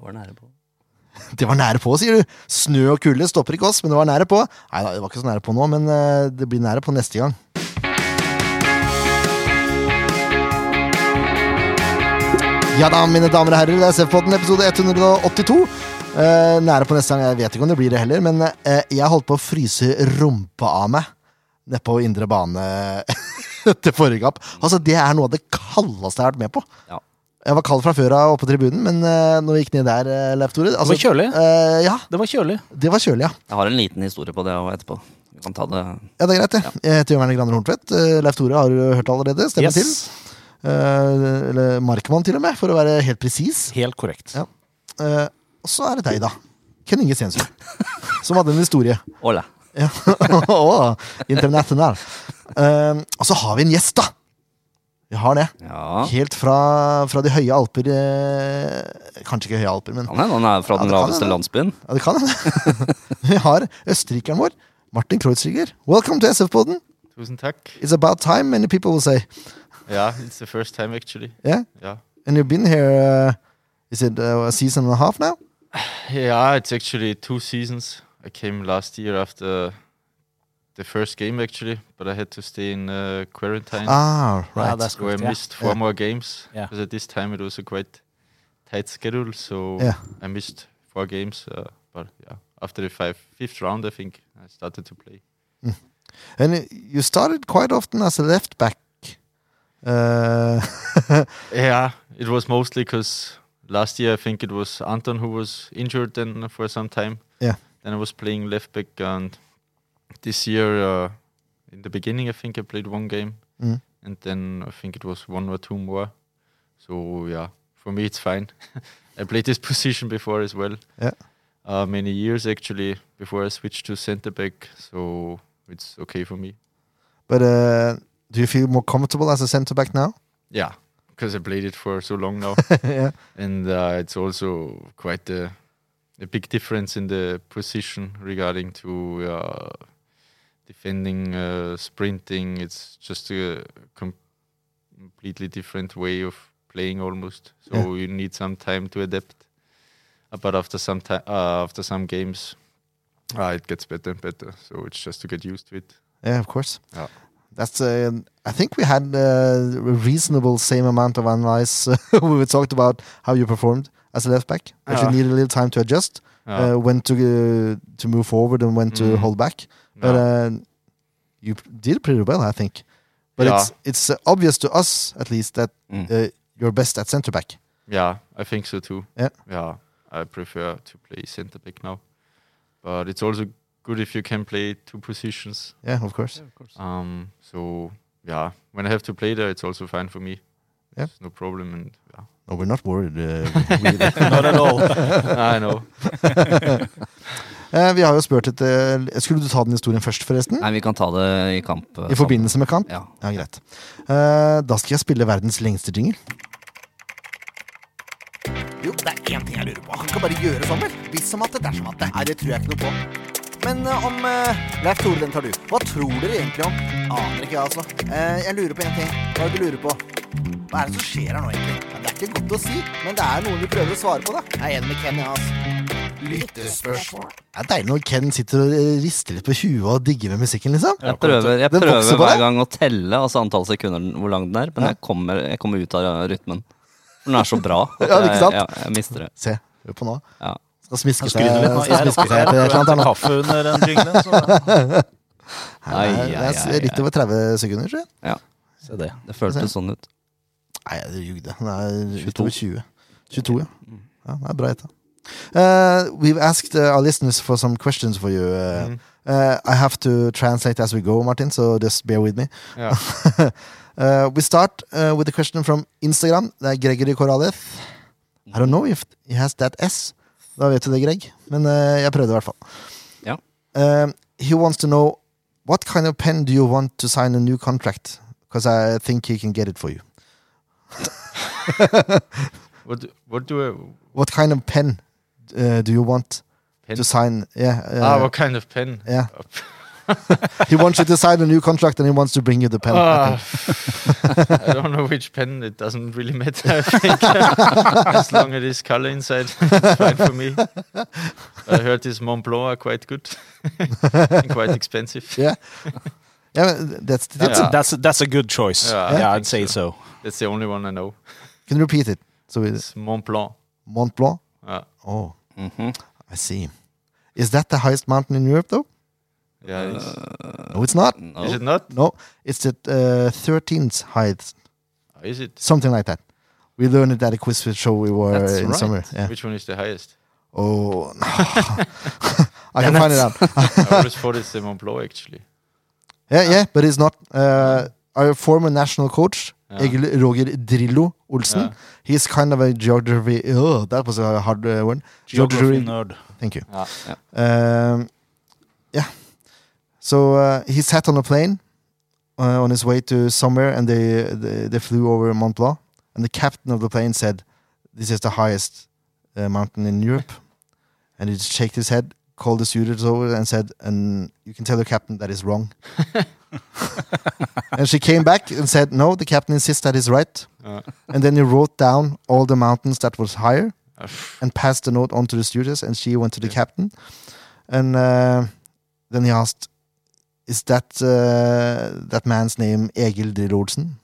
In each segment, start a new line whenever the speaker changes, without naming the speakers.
Var nære på.
Det var nære på, sier du. Snø og kulde stopper ikke oss, men det var nære på. Nei da, det var ikke så nære på nå, men eh, det blir nære på neste gang. Ja da, mine damer og herrer, det er Sefpodden episode 182. Eh, nære på neste gang, jeg vet ikke om det blir det heller, men eh, jeg holdt på å fryse rumpa av meg nedpå indre bane etter forrige kapp. Altså, det er noe av det kaldeste jeg har vært med på.
Ja.
Jeg var kald fra før av oppe på tribunen, men eh, når vi gikk ned der, eh, Leif Tore altså,
var kjølig.
eh, ja,
Det var kjølig.
det var kjølig, ja.
Jeg har en liten historie på det også etterpå. Vi kan ta det
Ja, det er greit, det. Jeg heter Jørgen Erne Graner Horntvedt. Eh, Leif Tore har du hørt allerede. Stemmer til. Eh, eller Markmann, til og med, for å være helt presis.
Helt korrekt.
Ja. Eh, og så er det deg, da. Ken Inge Stensrud. Som hadde en historie.
Ole.
Ja. Å, international. Eh, og så har vi en gjest, da! Vi har det.
Ja.
Helt fra, fra de høye alper eh, Kanskje ikke høye alper, men
Han er, han er fra
Ja,
den
det kan
laveste
hende.
landsbyen.
Ja, det kan hende. Vi har østerrikeren vår, Martin Kreuzriger. Welcome to SF-poden.
Tusen takk.
It's about time, many people will say.
Ja, it's the first time actually.
Yeah?
Yeah.
And you've been here, uh, is it uh, a season and a half now?
Yeah, it's actually two seasons. I came last year after the first game actually, but I had to stay in uh, quarantine.
Ah, right.
Ja, det er
so I
sjukt, ja.
missed four
Yeah.
more games.
Yeah.
Because at this time it was a quite tight schedule, so
Yeah.
I missed four games. Uh, but yeah, after the five, fifth round, I think I started to play.
And uh, you started quite often as a left back. Uh,
Yeah, it was mostly because last year I think it was Anton who was injured then for some time.
Yeah.
Then I was playing left back, and this year, uh, in the beginning, I think I played one game,
Mm.
and then I think it was one or two more. So yeah, for me it's fine. I played this position before as well.
Yeah.
Uh, many years actually before I switched to center back, so it's okay for me.
but uh, do you feel more comfortable as a centre back now?
Yeah, because I played it for so long now.
yeah.
and uh, it's also quite a, a big difference in the position regarding to uh, defending, uh, sprinting. It's just a com- completely different way of playing almost. So you need some time to adapt. Uh, But after some time, uh, after some games, uh, it gets better and better. So it's just to get used to it.
Yeah, of course.
Yeah.
That's. Uh, I think we had uh, a reasonable same amount of analysis. we talked about how you performed as a left back. That you
Yeah.
needed a little time to adjust
Uh,
uh, when to uh, to move forward and when to
Mm.
hold back. But
no.
uh, you p- did pretty well, I think. But
Yeah.
it's it's uh, obvious to us, at least, that
Mm.
uh, you're best at centre back.
Yeah, I think so too.
Yeah.
Yeah, I prefer to play center back now. But it's also good if you can play two positions.
Yeah, of course.
Um, so yeah, when I have to play there, it's also fine for me.
Yeah.
It's no problem. And yeah,
No, we're not worried. Uh,
Not at all.
I know.
eh, vi har jo spurt etter Skulle du ta den historien først, forresten?
Nei, vi kan ta det i kamp. eh,
I forbindelse med kamp?
sammen. Ja.
Ja, greit. Eh, da skal jeg spille verdens lengste jingle.
Jo, det er én ting jeg lurer på. Han kan bare gjøre sånn, vel? Hvis som at det dersom at det. Nei, det tror jeg ikke noe på. Men eh, om uh, Leif Tore, den tar du. Hva tror dere egentlig om? Aner ikke, jeg, altså. Eh, jeg lurer på én ting. Hva er det du lurer på? Hva er det som skjer her nå, egentlig? Ja, det er ikke godt å si, men det er noen vi prøver å svare på, da. Jeg er enig med Ken, jeg, altså. Lyttespørsmål.
Det er deilig når Ken sitter og eh, rister litt på huet og digger med musikken, liksom.
Jeg prøver, jeg
Den
prøver
vokser på
hver
deg.
gang å telle altså antall sekunder den- hvor lang den er, men jeg, kommer, jeg kommer ut av rytmen. For den er så bra. at
Ja, ikke sant?
Jeg, ja, jeg mister det.
Se, hør på nå.
Ja.
Skal smiske seg
Skryter litt nå.
skal
Jeg
smiske seg til et eller annet.
rakk kaffe under den jinglen, så
Ai,
Det
ai,
er-
ai,
Det er litt
ai.
over 30 sekunder, tror jeg.
Ja,
Se det.
det føltes sånn ut.
Nei, det jugde. Det er litt
22.
over 20. 22, ja. ja det er bra gjetta. Uh, we've asked uh, our listeners for some questions for you.
Mm.
Uh, uh, I have to translate as we go, Martin, so just bear with me.
Yeah.
Uh, we start uh, with a question from Instagram. Det er Gregory Coraleth. I don't know if he has that S. Da vet du det, Greg. Men uh, jeg prøvde i hvert fall.
Ja.
Um, he wants to know what kind of pen do you want to sign a new contract? Because I think he can get it for you.
What do- what do I?
What kind of pen uh, do you want
Pen?
to sign? Yeah. Uh,
ah, what kind of pen?
Yeah. He wants you to sign a new contract and he wants to bring you the pen. I
Ah, I don't know which pen. It doesn't really matter. I think as long as it is color inside, it's fine for me. I heard this Mont Blanc are quite good and quite expensive.
think. Yeah. yeah but that's, that's
That's,
Yeah.
a, that's, a, that's a good choice.
Yeah,
Yeah,
I
I'd say
think
so.
That's the only one I know.
Can you repeat it? So it's
It's Mont Blanc.
Mont Blanc.
Ah,
Oh,
Mhm.
I see. Is that the highest mountain in Europe, though?
Eh,
yeah, it's,
No, it's not.
No.
is it not?
No, it's the uh, 13th highest,
Is it?
something like that. We learned it at a quiz show we were
That's
in
right.
summer. Yeah.
Which one is the highest?
Oh, I can find it out.
I always thought it's the Mont Blanc actually.
Yeah, yeah, but it's not. Uh, our former national coach,
Yeah.
Egil Roger Drillo Olsen,
Yeah.
he's kind of a geography. Oh, that was a hard uh, one.
Geography nerd.
Thank you.
Ah,
Um, yeah. So uh, he sat on a plane uh, on his way to somewhere, and they, they they flew over Mont Blanc. And the captain of the plane said, "This is the highest uh, mountain in Europe." and he just shook his head, called the students over, and said, "And you can tell the captain that is wrong." and she came back and said, "No, the captain insists that is right."
ah.
And then he wrote down all the mountains that was higher
Ah,
and passed the note on to the stewardess, and she went to the captain. And uh, then he asked, "Is that uh, that man's name Egil Drill Olsen?"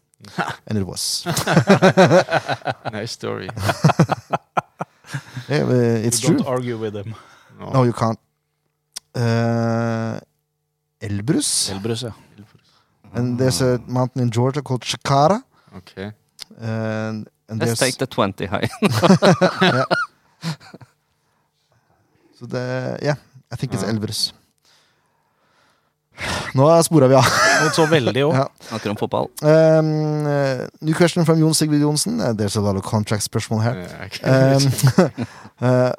and it was.
nice story.
Yeah, uh, it's
you
true.
Don't argue with him.
No.
No, you can't. Uh, Elbrus,
Elbrus, ja.
and there's a
Mm.
mountain in Georgia called Shakara,
Okay.
and and
Let's
there's
take the 20 high.
so the yeah, I think it's
Ja.
Elbrus. Nå spora vi av.
Not så veldig òg.
Ja.
Snakker om fotball.
Um, uh, new question from Jon Sigvid Johnsen. Uh, there's a lot of contract spørsmål here.
Yeah, okay.
Um, uh,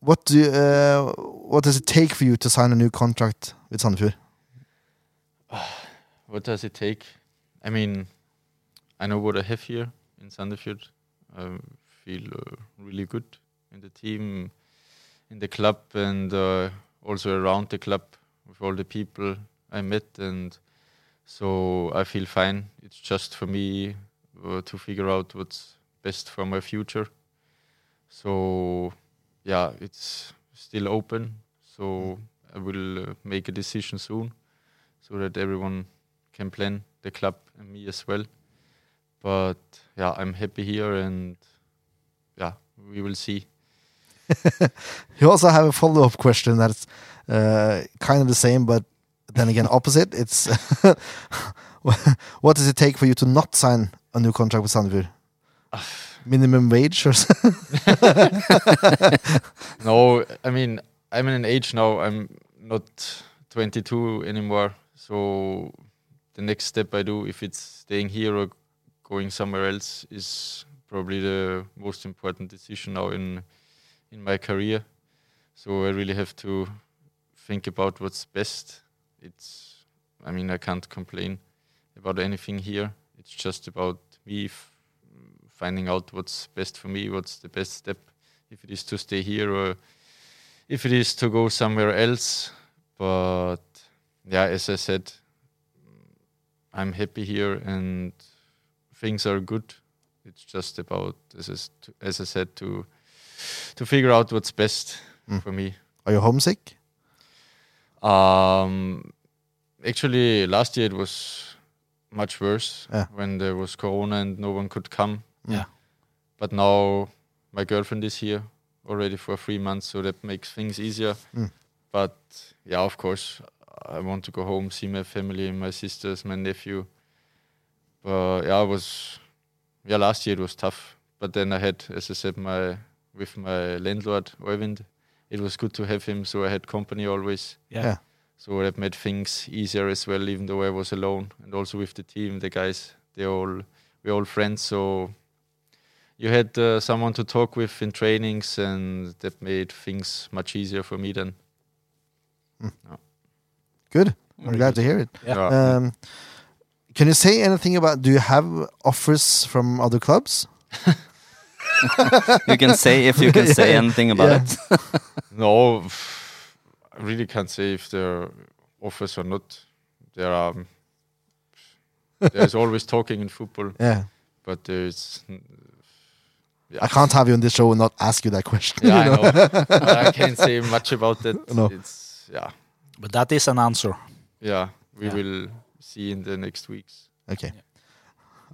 what do you, uh, what does it take for you to sign a new contract with Sandefjord?
what does it take? I mean, I know what I have here in Sandefjord. I feel uh, really good in the team, in the club, and uh, also around the club with all the people I met. And so I feel fine. It's just for me uh, to figure out what's best for my future. So, yeah, it's still open. So I will uh, make a decision soon so that everyone can plan the club and me as well. But yeah, I'm happy here, and yeah, we will see.
You also have a follow up question that's uh, kind of the same, but then again opposite. It's what does it take for you to not sign a new contract with Sandefjord? Minimum wage or something?
No, I mean I'm in an age now. I'm not 22 anymore. So the next step I do, if it's staying here or going somewhere else, is probably the most important decision now in in my career. So I really have to think about what's best. It's, I mean, I can't complain about anything here. It's just about me f- finding out what's best for me, what's the best step if it is to stay here or if it is to go somewhere else. But yeah, as I said, I'm happy here and things are good. It's just about as I, s- to- as I said to to figure out what's best
Mm.
for me.
Are you homesick?
Um, actually, last year it was much worse
Yeah.
when there was Corona and no one could come.
Yeah.
But now my girlfriend is here already for three months, so that makes things easier.
Mm.
But yeah, of course, I want to go home, see my family, my sisters, my nephew. But yeah, I was yeah last year it was tough. But then I had, as I said, my with my landlord Oyvind. It was good to have him, so I had company always.
Yeah.
Ja.
So that made things easier as well, even though I was alone. And also with the team, the guys, they all we're all friends. So you had uh, someone to talk with in trainings, and that made things much easier for me then.
Good. I'm glad to hear it. Um, can you say anything about? Do you have offers from other clubs?
You can say if you can say anything about
Yeah.
it.
no, I really can't say if there offers or not, there are there's always talking in football,
Yeah.
but there's
I can't have you on this show and not ask you that question.
yeah, I
you know?
know. But I can't say much about that.
No.
It's yeah,
But that is an answer.
yeah. We
Yeah.
will see in the next weeks.
Okay.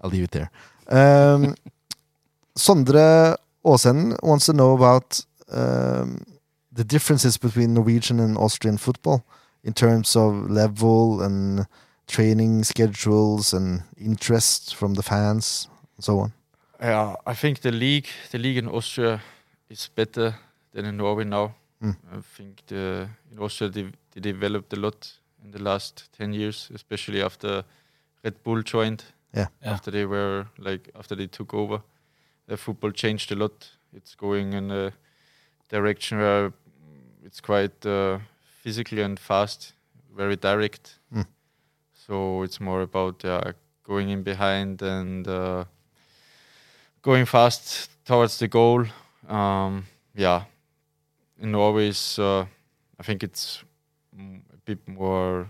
I'll leave it there. Um, Sondre Aasenden wants to know about um, the differences between Norwegian and Austrian football in terms of level and training schedules and interest from the fans and so on.
Yeah, I think the league, the league in Austria, is better than in Norway now.
Mm.
I think the in Austria they, they developed a lot in the last ten years, especially after Red Bull joined.
Yeah.
Yeah.
After they were like after they took over, the football changed a lot. It's going in a direction where it's quite uh, physical and fast, very direct.
Mm.
So it's more about yeah, going in behind and. Uh, going fast towards the goal. Um, yeah, in Norway, is, uh, I think it's mm, a bit more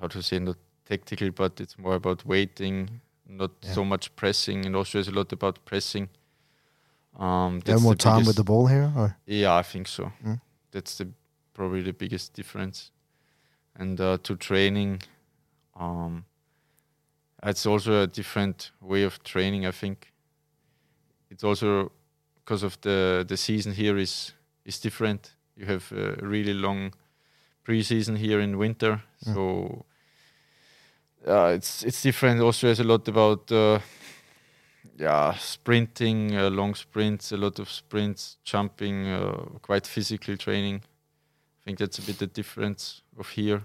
how to say not tactical, but it's more about waiting, not
Yeah.
so much pressing. In Austria, it's a lot about pressing. Um,
Do you have more time with the ball here? Or?
yeah, I think so.
Mm.
That's the probably the biggest difference. And uh, to training, um, it's also a different way of training. I think it's also because of the the season here is is different. You have a really long preseason here in winter,
Mm.
so uh, it's it's different. Also, there's a lot about. Uh, yeah, sprinting, uh, long sprints, a lot of sprints, jumping, uh, quite physical training. I think that's a bit the difference of here.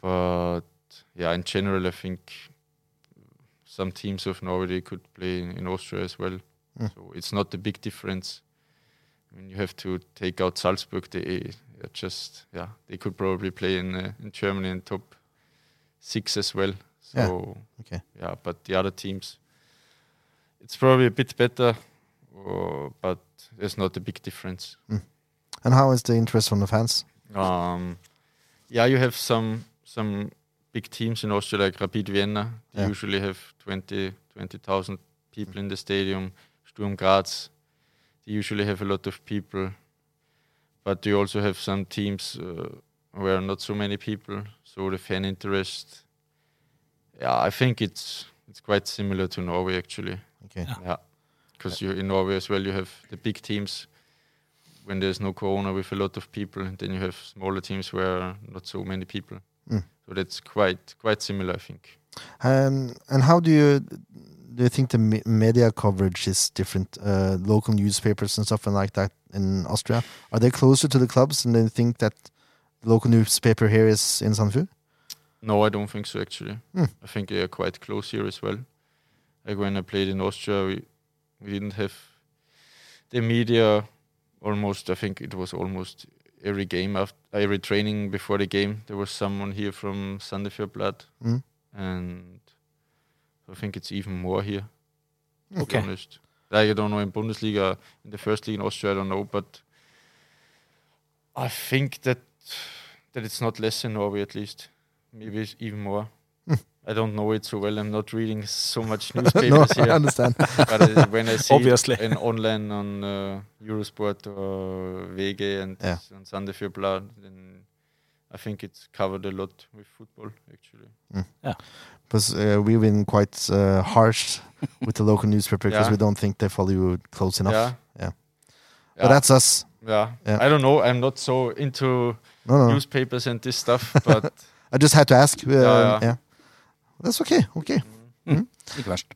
But yeah, in general, I think some teams of Norway they could play in, in Austria as well.
Mm.
So it's not a big difference. I mean, you have to take out Salzburg. They are just yeah, they could probably play in uh, in Germany in top six as well. So
Yeah. Okay.
yeah, but the other teams, it's probably a bit better, uh, but there's not a big difference.
And how is the interest from the fans?
Um, yeah, you have some some big teams in Austria like Rapid Vienna. They
Yeah.
usually have 20 20,000 people in the stadium. Sturm Graz, they usually have a lot of people, but you also have some teams uh, where not so many people. So the fan interest, yeah, I think it's it's quite similar to Norway actually.
Okay.
Yeah, because you in Norway as well, you have the big teams when there's no corona with a lot of people, and then you have smaller teams where not so many people.
Mm.
So that's quite quite similar, I think.
Um, and how do you do you think the me- media coverage is different? Uh, local newspapers and stuff and like that in Austria are they closer to the clubs and they think that the local newspaper here is in Sandefjord?
No, I don't think so actually.
Mm.
I think they are quite close here as well. Like when I played in Austria, we, we didn't have the media almost. I think it was almost every game after every training before the game. There was someone here from Sandefjord Blood,
Mm.
and I think it's even more here. To
Okay.
Be honest. Like I don't know in Bundesliga, in the first league in Austria, I don't know, but I think that that it's not less in Norway at least. Maybe it's even more.
Hmm.
I don't know it so well. I'm not reading so much
no,
newspapers
I
here,
understand.
but uh, when I see
Obviously.
it in online on uh, Eurosport or VG and
Yeah.
and Sandefjord Blad, then I think it's covered a lot with football actually.
Because uh, we've been quite uh, harsh with the local newspaper because
Yeah.
we don't think they follow you close enough.
Yeah.
But that's us.
Yeah.
Yeah. Hmm.
I don't know. I'm not so into
No, no, no.
newspapers and this stuff, but
I just had to ask. Uh, yeah,
yeah.
That's okay. Okay.
Ikke verst.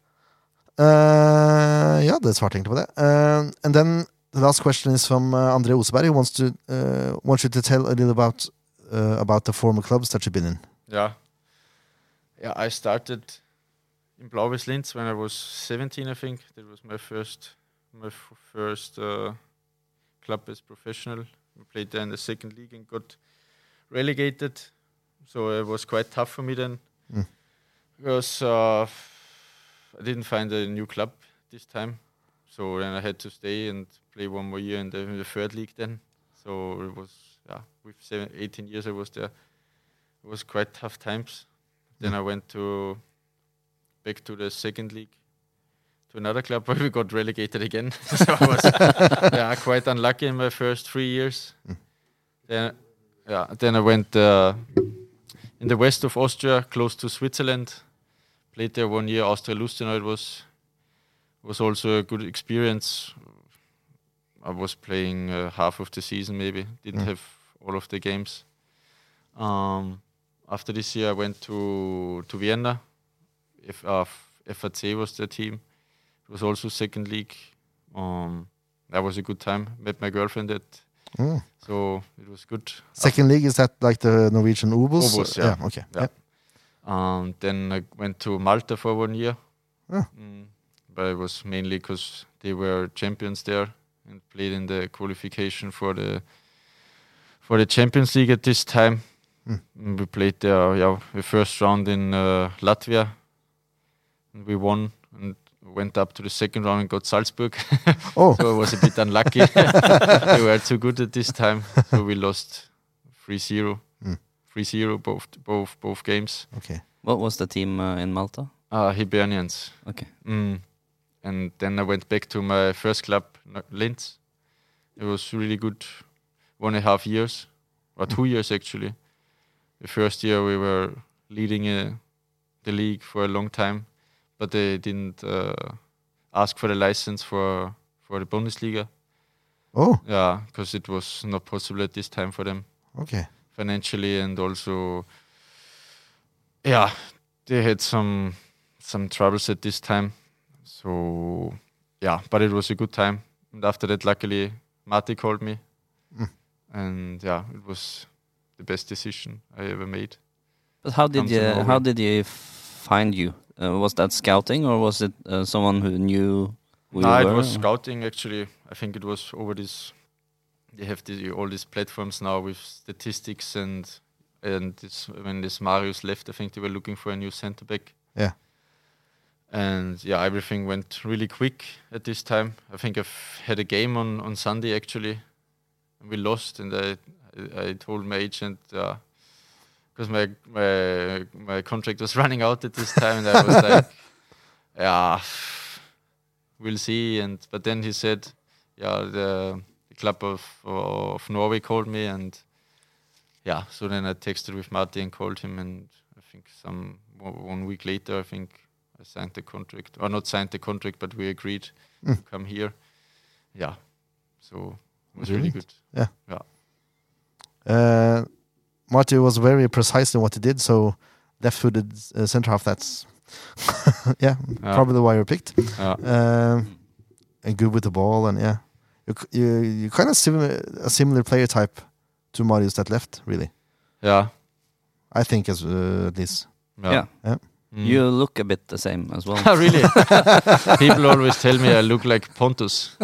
Uh, yeah, det svarte jeg egentlig på det. Uh, and then the last question is from uh, Andre Oseberg, who wants to uh, wants you to tell a little about uh, about the former clubs that you've been in.
yeah. Yeah, I started in Blaues Linz when I was 17, I think. That was my first my f- first uh, club as professional. I played there in the second league and got relegated. So it was quite tough for me then.
Mm.
Because uh, I didn't find a new club this time. So then I had to stay and play one more year in the, in the third league then. So it was yeah, with seven, 18 years I was there. It was quite tough times. Then I went to back to the second league to another club where we got relegated again. so I was yeah, quite unlucky in my first three years. Then yeah, then I went uh, in the west of Austria, close to Switzerland. Played there one year. Austria Lustenau. It was was also a good experience. I was playing uh, half of the season, maybe didn't have all of the games. Um, after this year, I went to to Vienna. If uh, F- FAC was the team, it was also second league. Um, that was a good time. Met my girlfriend at,
Mm.
so it was good.
Second league, is that like the Norwegian Obos?
Obos, yeah.
okay.
Yeah.
Yeah.
Um, then I went to Malta for one year.
Yeah.
Mm, but it was mainly because they were champions there and played in the qualification for the for the Champions League at this time.
Mm.
And We played there, yeah, the first round in uh, Latvia. And we won and went up to the second round and got Salzburg.
Oh,
so I was a bit unlucky. they were too good at this time, so we lost 3-0.
Mm.
3-0 both both both games.
ok.
What was the team uh, in Malta?
Uh, Hibernians.
Okay.
Mm. And then I went back to my first club, N- Linz. It was really good, one and a half years, or two years actually. The first year we were leading uh, the league for a long time, but they didn't uh, ask for the license for for the Bundesliga.
Oh,
Yeah, because it was not possible at this time for them
ok.
financially and also yeah they had some some troubles at this time so yeah but it was a good time and after that luckily Marty called me
Mm.
and yeah it was the best decision I ever made
But how did
Comes
you
in Norway.
how did you find you? Uh, was that scouting, or was it uh, someone who knew who
no
you
it
were?
was scouting actually I think it was over this they have the, all these platforms now with statistics and and this when this Marius left I think they were looking for a new center back
Ja.
and yeah, everything went really quick at this time. I think I've had a game on on Sunday actually, and we lost. And I I, I told my agent because my my my contract was running out at this time, and I was like, yeah, we'll see. And but then he said, yeah, the, the club of of Norway called me, and yeah, so then I texted with Marty and called him, and I think some one one week later, I think I signed the contract, or not signed the contract, but we agreed to come here. Yeah, so it was really good.
Uh, Marty was very precise in what he did, so left-footed uh, centre half. That's yeah,
Yeah.
probably why you were picked.
Yeah.
Um, and good with the ball, and yeah, you c- you you kind of similar a similar player type to Marius that left. Really,
Yeah,
I think as uh, at least.
Yeah.
Mm.
You look a bit the same as well.
Ah, really? People always tell me I look like Pontus.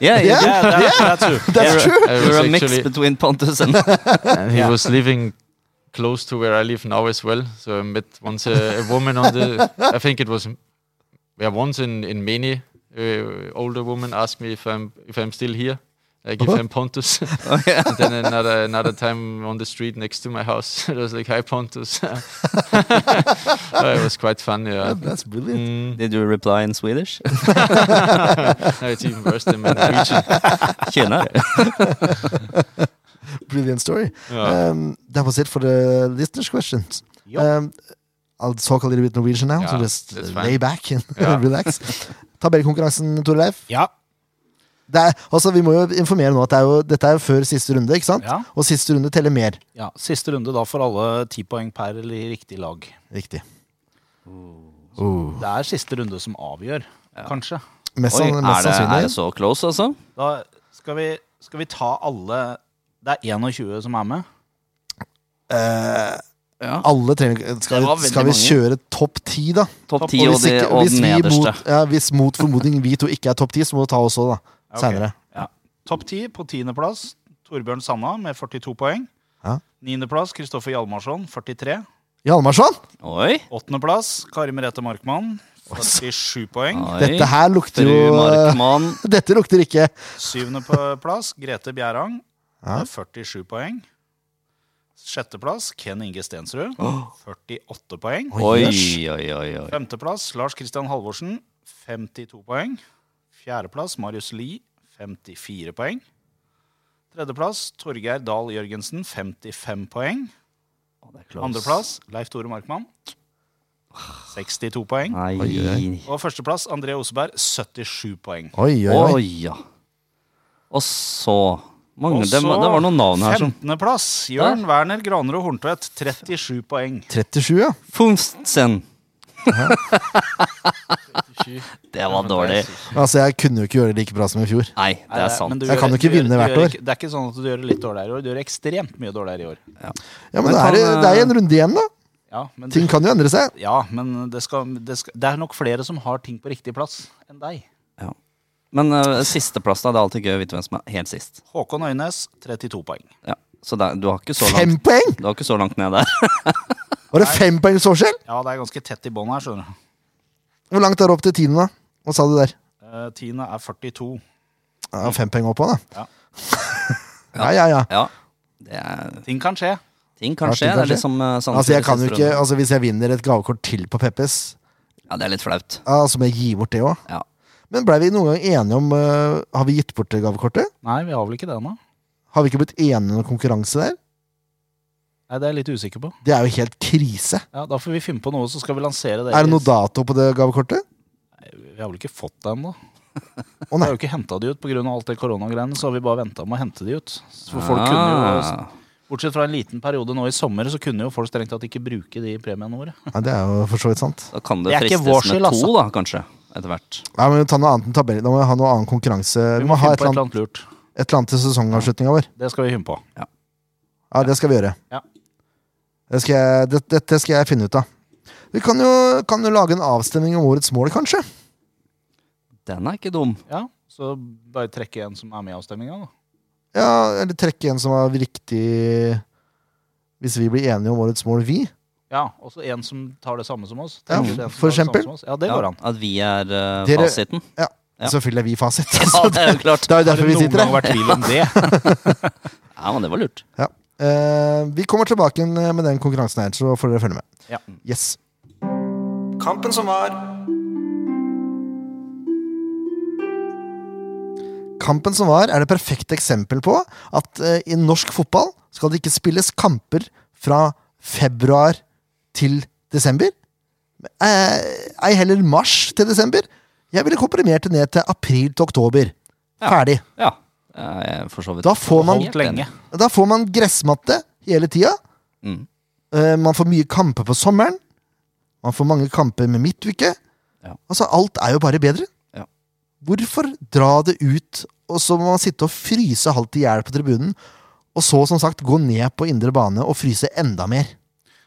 yeah, you
Yeah.
do.
Yeah, that, that's true.
That's true.
I
You're a
was
mix
actually-
between Pontus and
and he was living close to where I live now as well. So I met once a, a woman on the. I think it was, yeah, once in in Mene, uh, older woman asked me if I'm if I'm still here, like if I'm Pontus.
Oh,
and then another another time on the street next to my house, I was like, "Hi, Pontus." Uh, it was quite fun. Yeah.
That's brilliant.
Mm.
Did you reply in Swedish?
no, it's even worse than my Norwegian.
Tjena. Mm.
Brilliant story.
Yeah.
Um, that was it for the listeners' questions. Um, I'll talk a little bit Norwegian now, so
Yeah,
just
that's
uh,
fine.
lay back and
Ja.
relax. Tabellkonkurransen, Torleif.
Ja.
Det er, altså, vi må jo informere nå at det er jo, dette er jo før siste runde, ikke sant?
Ja.
Og siste runde teller mer.
ja. Siste runde da for alle ti poeng per eller riktig lag.
Riktig.
Det er siste runde som avgjør, kanskje.
Oi,
Mest, sann-
er
sånn, mest
det, er det
sannsynlig.
så close, altså?
Da skal vi, skal vi ta alle Det er 21 som er med.
Ja.
Alle trenger Skal,
Det var
vi-
veldig
skal vi
mange.
kjøre topp ti, da?
Topp
Topp-
ti
Og
og,
hvis
de,
ikke-
og
hvis
den
vi
nederste.
Mot, ja, hvis mot formodning vi to ikke er topp ti, så må du ta oss òg, da.
Ok.
Senere.
Ja. Topp ti på tiendeplass Torbjørn Sanna med 42 poeng.
Ja.
Niendeplass Kristoffer Hjalmarsson, 43.
Hjalmarsson!
Oi.
Åttendeplass Kari Merete Markmann, 47 poeng.
Oi.
Dette her lukter
Fru
jo
Markmann.
Dette lukter ikke
Syvendeplass Grete Bjerang,
Ja.
med 47 poeng. Sjetteplass Ken Inge Stensrud, 48 poeng.
Oi,
jøss.
oi, oi. oi.
Femteplass Lars Kristian Halvorsen, 52 poeng. Fjerdeplass Marius Lie, 54 poeng. Tredjeplass Torgeir Dahl Jørgensen, 55 poeng. Andreplass Leif Tore Markmann, 62 poeng.
Nei,
Oi, oi.
Og førsteplass André Oseberg, 77 poeng.
Oi, oi,
oi,
oi.
ja. Og så mange,
Og
Mm, det, det
så
var noen navn her som
15.plass Jørn Werner Granerud Horntvedt, 37 poeng.
37, ja.
Funsen. Det var dårlig.
Altså, jeg kunne jo ikke gjøre det like bra som i fjor.
Nei, det er sant.
Men du
Jeg
gjør-
kan jo ikke
du gjør-
vinne
du
hvert
gjør
år.
ikke- Det er ikke sånn at du gjør det litt dårligere i år. Du gjør ekstremt mye dårligere i år.
Ja, Men,
Men
det, er,
kan, eh,
det er en runde igjen, da.
Ja, men, du,
Ting kan jo endre seg.
ja, men det, skal, det, skal, det er nok flere som har ting på riktig plass enn deg.
Men eh, sisteplass, da. Det er alltid gøy å vite hvem som er helt sist.
Håkon Øynes, 32 poeng.
Ja. Så det, er- du, har ikke så
Fem
langt,
poeng!
du har ikke så langt ned der.
Var det fem poengs forskjell?
Ja, det er ganske tett i bånn her, skjønner du.
Hvor langt er det opp til tiende, da? Hva sa du der?
Eh, Tiende er 42.
Ja, fem poeng opp òg, da.
Ja.
Ja, ja, ja.
Ja, det er,
Ting kan skje.
ting kan skje.
Ja, ting kan
Det er
skje.
liksom eh, Sandefjord
Altså,
i
jeg kan jo
siste
ikke,
runde.
altså Hvis jeg vinner et gavekort til på Peppes,
Ja, det er litt flaut.
ja, så må jeg gi bort det òg.
Ja.
Men blei vi noen gang enige om eh, Har vi gitt bort det gavekortet?
Nei, vi har vel ikke det ennå.
Har vi ikke blitt enige om noen konkurranse der?
Nei, Det er jeg litt usikker på.
Det er jo helt krise.
Ja, Da får vi finne på noe, så skal vi lansere det.
Er det noe dato på det gavekortet?
Vi har vel ikke fått det
Å,
ennå. Vi
nei.
har jo ikke henta de ut pga. alt det koronagreiene, så har vi bare venta med å hente de ut. For folk kunne jo,
Ah.
Bortsett fra en liten periode nå i sommer, så kunne jo folk strengt tatt ikke bruke de premiene våre.
Nei, det er jo for så vidt sant.
Da kan det,
Det er ikke
fristes
vår
med
skyld, altså.
to, da, kanskje. Etter hvert.
Nei, men ta noe annet enn tabell. Da må vi ha noe annen konkurranse.
Vi må
ha
finne
et
på
eller,
et eller
annet,
annet lurt.
et eller annet til sesongavslutninga vår.
Det skal vi finne på.
Ja, det skal vi gjøre.
Ja.
Det skal jeg, det, dette skal jeg finne ut av. Vi kan jo, kan jo lage en avstemning om årets mål, kanskje.
Den er ikke dum.
Ja, Så bare trekke en som er med i avstemninga, da.
Ja, Eller trekke en som var riktig Hvis vi blir enige om årets mål, vi.
Ja, Også en som tar det samme som oss.
Ja,
Trekke en som
for
tar det samme
eksempel.
som oss. Ja, det
Ja,
går an.
At vi er eh,
Dere-
fasiten. Ja.
Selvfølgelig er vi fasit.
Ja, det er jo klart.
Det er jo derfor vi
noen
sitter
gang
her.
vært tvil om det?
Ja, men det var lurt.
Ja. Eh, vi kommer tilbake igjen med den konkurransen her, så får dere følge med.
Ja.
Yes.
Kampen som var.
Kampen som var, er det perfekte eksempel på at eh, i norsk fotball skal det ikke spilles kamper fra februar til desember. Eh, ei heller mars til desember. Jeg ville komprimert det ned til april til oktober. Ferdig.
Ja. Jeg er for så vidt
Da får man-
helt
Holdt lenge.
enig.
Da får man gressmatte hele tida.
Mm.
Eh, man får mye kamper på sommeren. Man får mange kamper med midtuke.
Ja.
Altså, alt er jo bare bedre.
Ja.
Hvorfor dra det ut, og så må man sitte og fryse halvt i hjel på tribunen, og så som sagt gå ned på indre bane og fryse enda mer?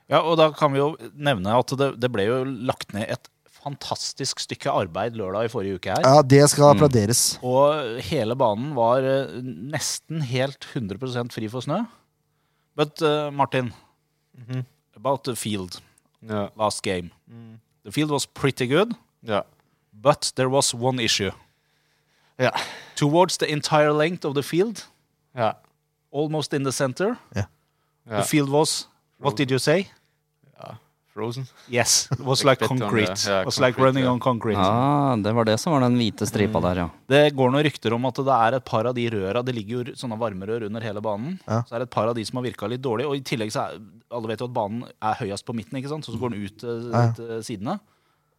Ja, og da kan vi jo nevne at det, det ble jo lagt ned et fantastisk stykke arbeid lørdag i forrige uke her.
Ja, det
Mm.
skal applauderes.
Og hele banen var eh, nesten helt 100 fri for snø. But eh, Martin, about the field
Yeah.
last game. The field was pretty good,
Yeah.
but there was one issue.
Yeah.
Towards the entire length of the field,
Yeah.
almost in the center,
Yeah.
the field was What did you say?
Frozen.
Yes, it was like
Like bit on the-
concrete.
yeah,
it was like
concrete,
running
yeah.
on concrete.
Ah, det var det som var den hvite stripa
Mm.
der, ja.
Det går noen rykter om at det er et par av de røra Det ligger jo sånne varmerør under hele banen.
Ja.
Så er det et par av de som har virka litt dårlig. Og i tillegg så er alle vet jo at banen er høyest på midten, ikke sant? så så går den ut eh,
Ja.
ut, eh, sidene.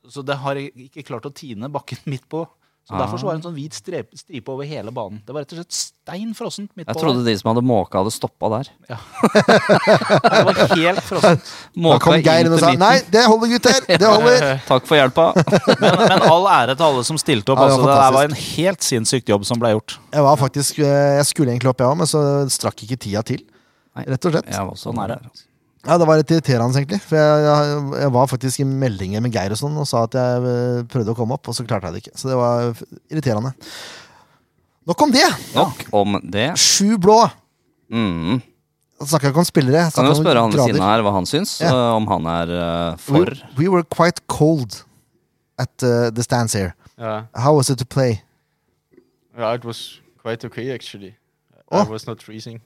Så det har ikke klart å tine bakken midt på. Så
Ah.
Derfor så var det en sånn hvit strep, stripe over hele banen. Det var rett og slett stein frossent midt
Jeg
på.
trodde de som hadde måka, hadde stoppa der.
der. Det var helt frossent.
Da
Måka
kom Geir
inn
inn og
til
sa
midten.
nei, det holder, gutter! Det holder!
Takk for hjelpa.
Men, men all ære til alle som stilte opp.
Ja, det
altså,
var
det der var en
fantastisk.
helt sinnssykt jobb som ble gjort.
Jeg var faktisk, eh, jeg skulle egentlig opp, jeg òg, men så strakk ikke tida til.
Nei.
Rett og slett.
Jeg var også
Sånn er
der.
det.
altså.
Ja, Det var litt irriterende, egentlig. For jeg, jeg, jeg var faktisk i meldinger med Geir og sånn og sa at jeg eh, prøvde å komme opp, og så klarte jeg det ikke. Så det var f- irriterende. Nok om det!
Nok om det.
Sju blå.
Mm.
Jeg Snakka ikke om spillere. jeg
Kan jo
snakket om
spørre han ved
grader.
siden av her hva han syns.
Ja.
øh, Om han er øh, for.
We, we were quite cold at uh, the stands here.
Yeah.
How was it to play?
Yeah. It was quite okay actually. Uh,
Oh.
I was not freezing.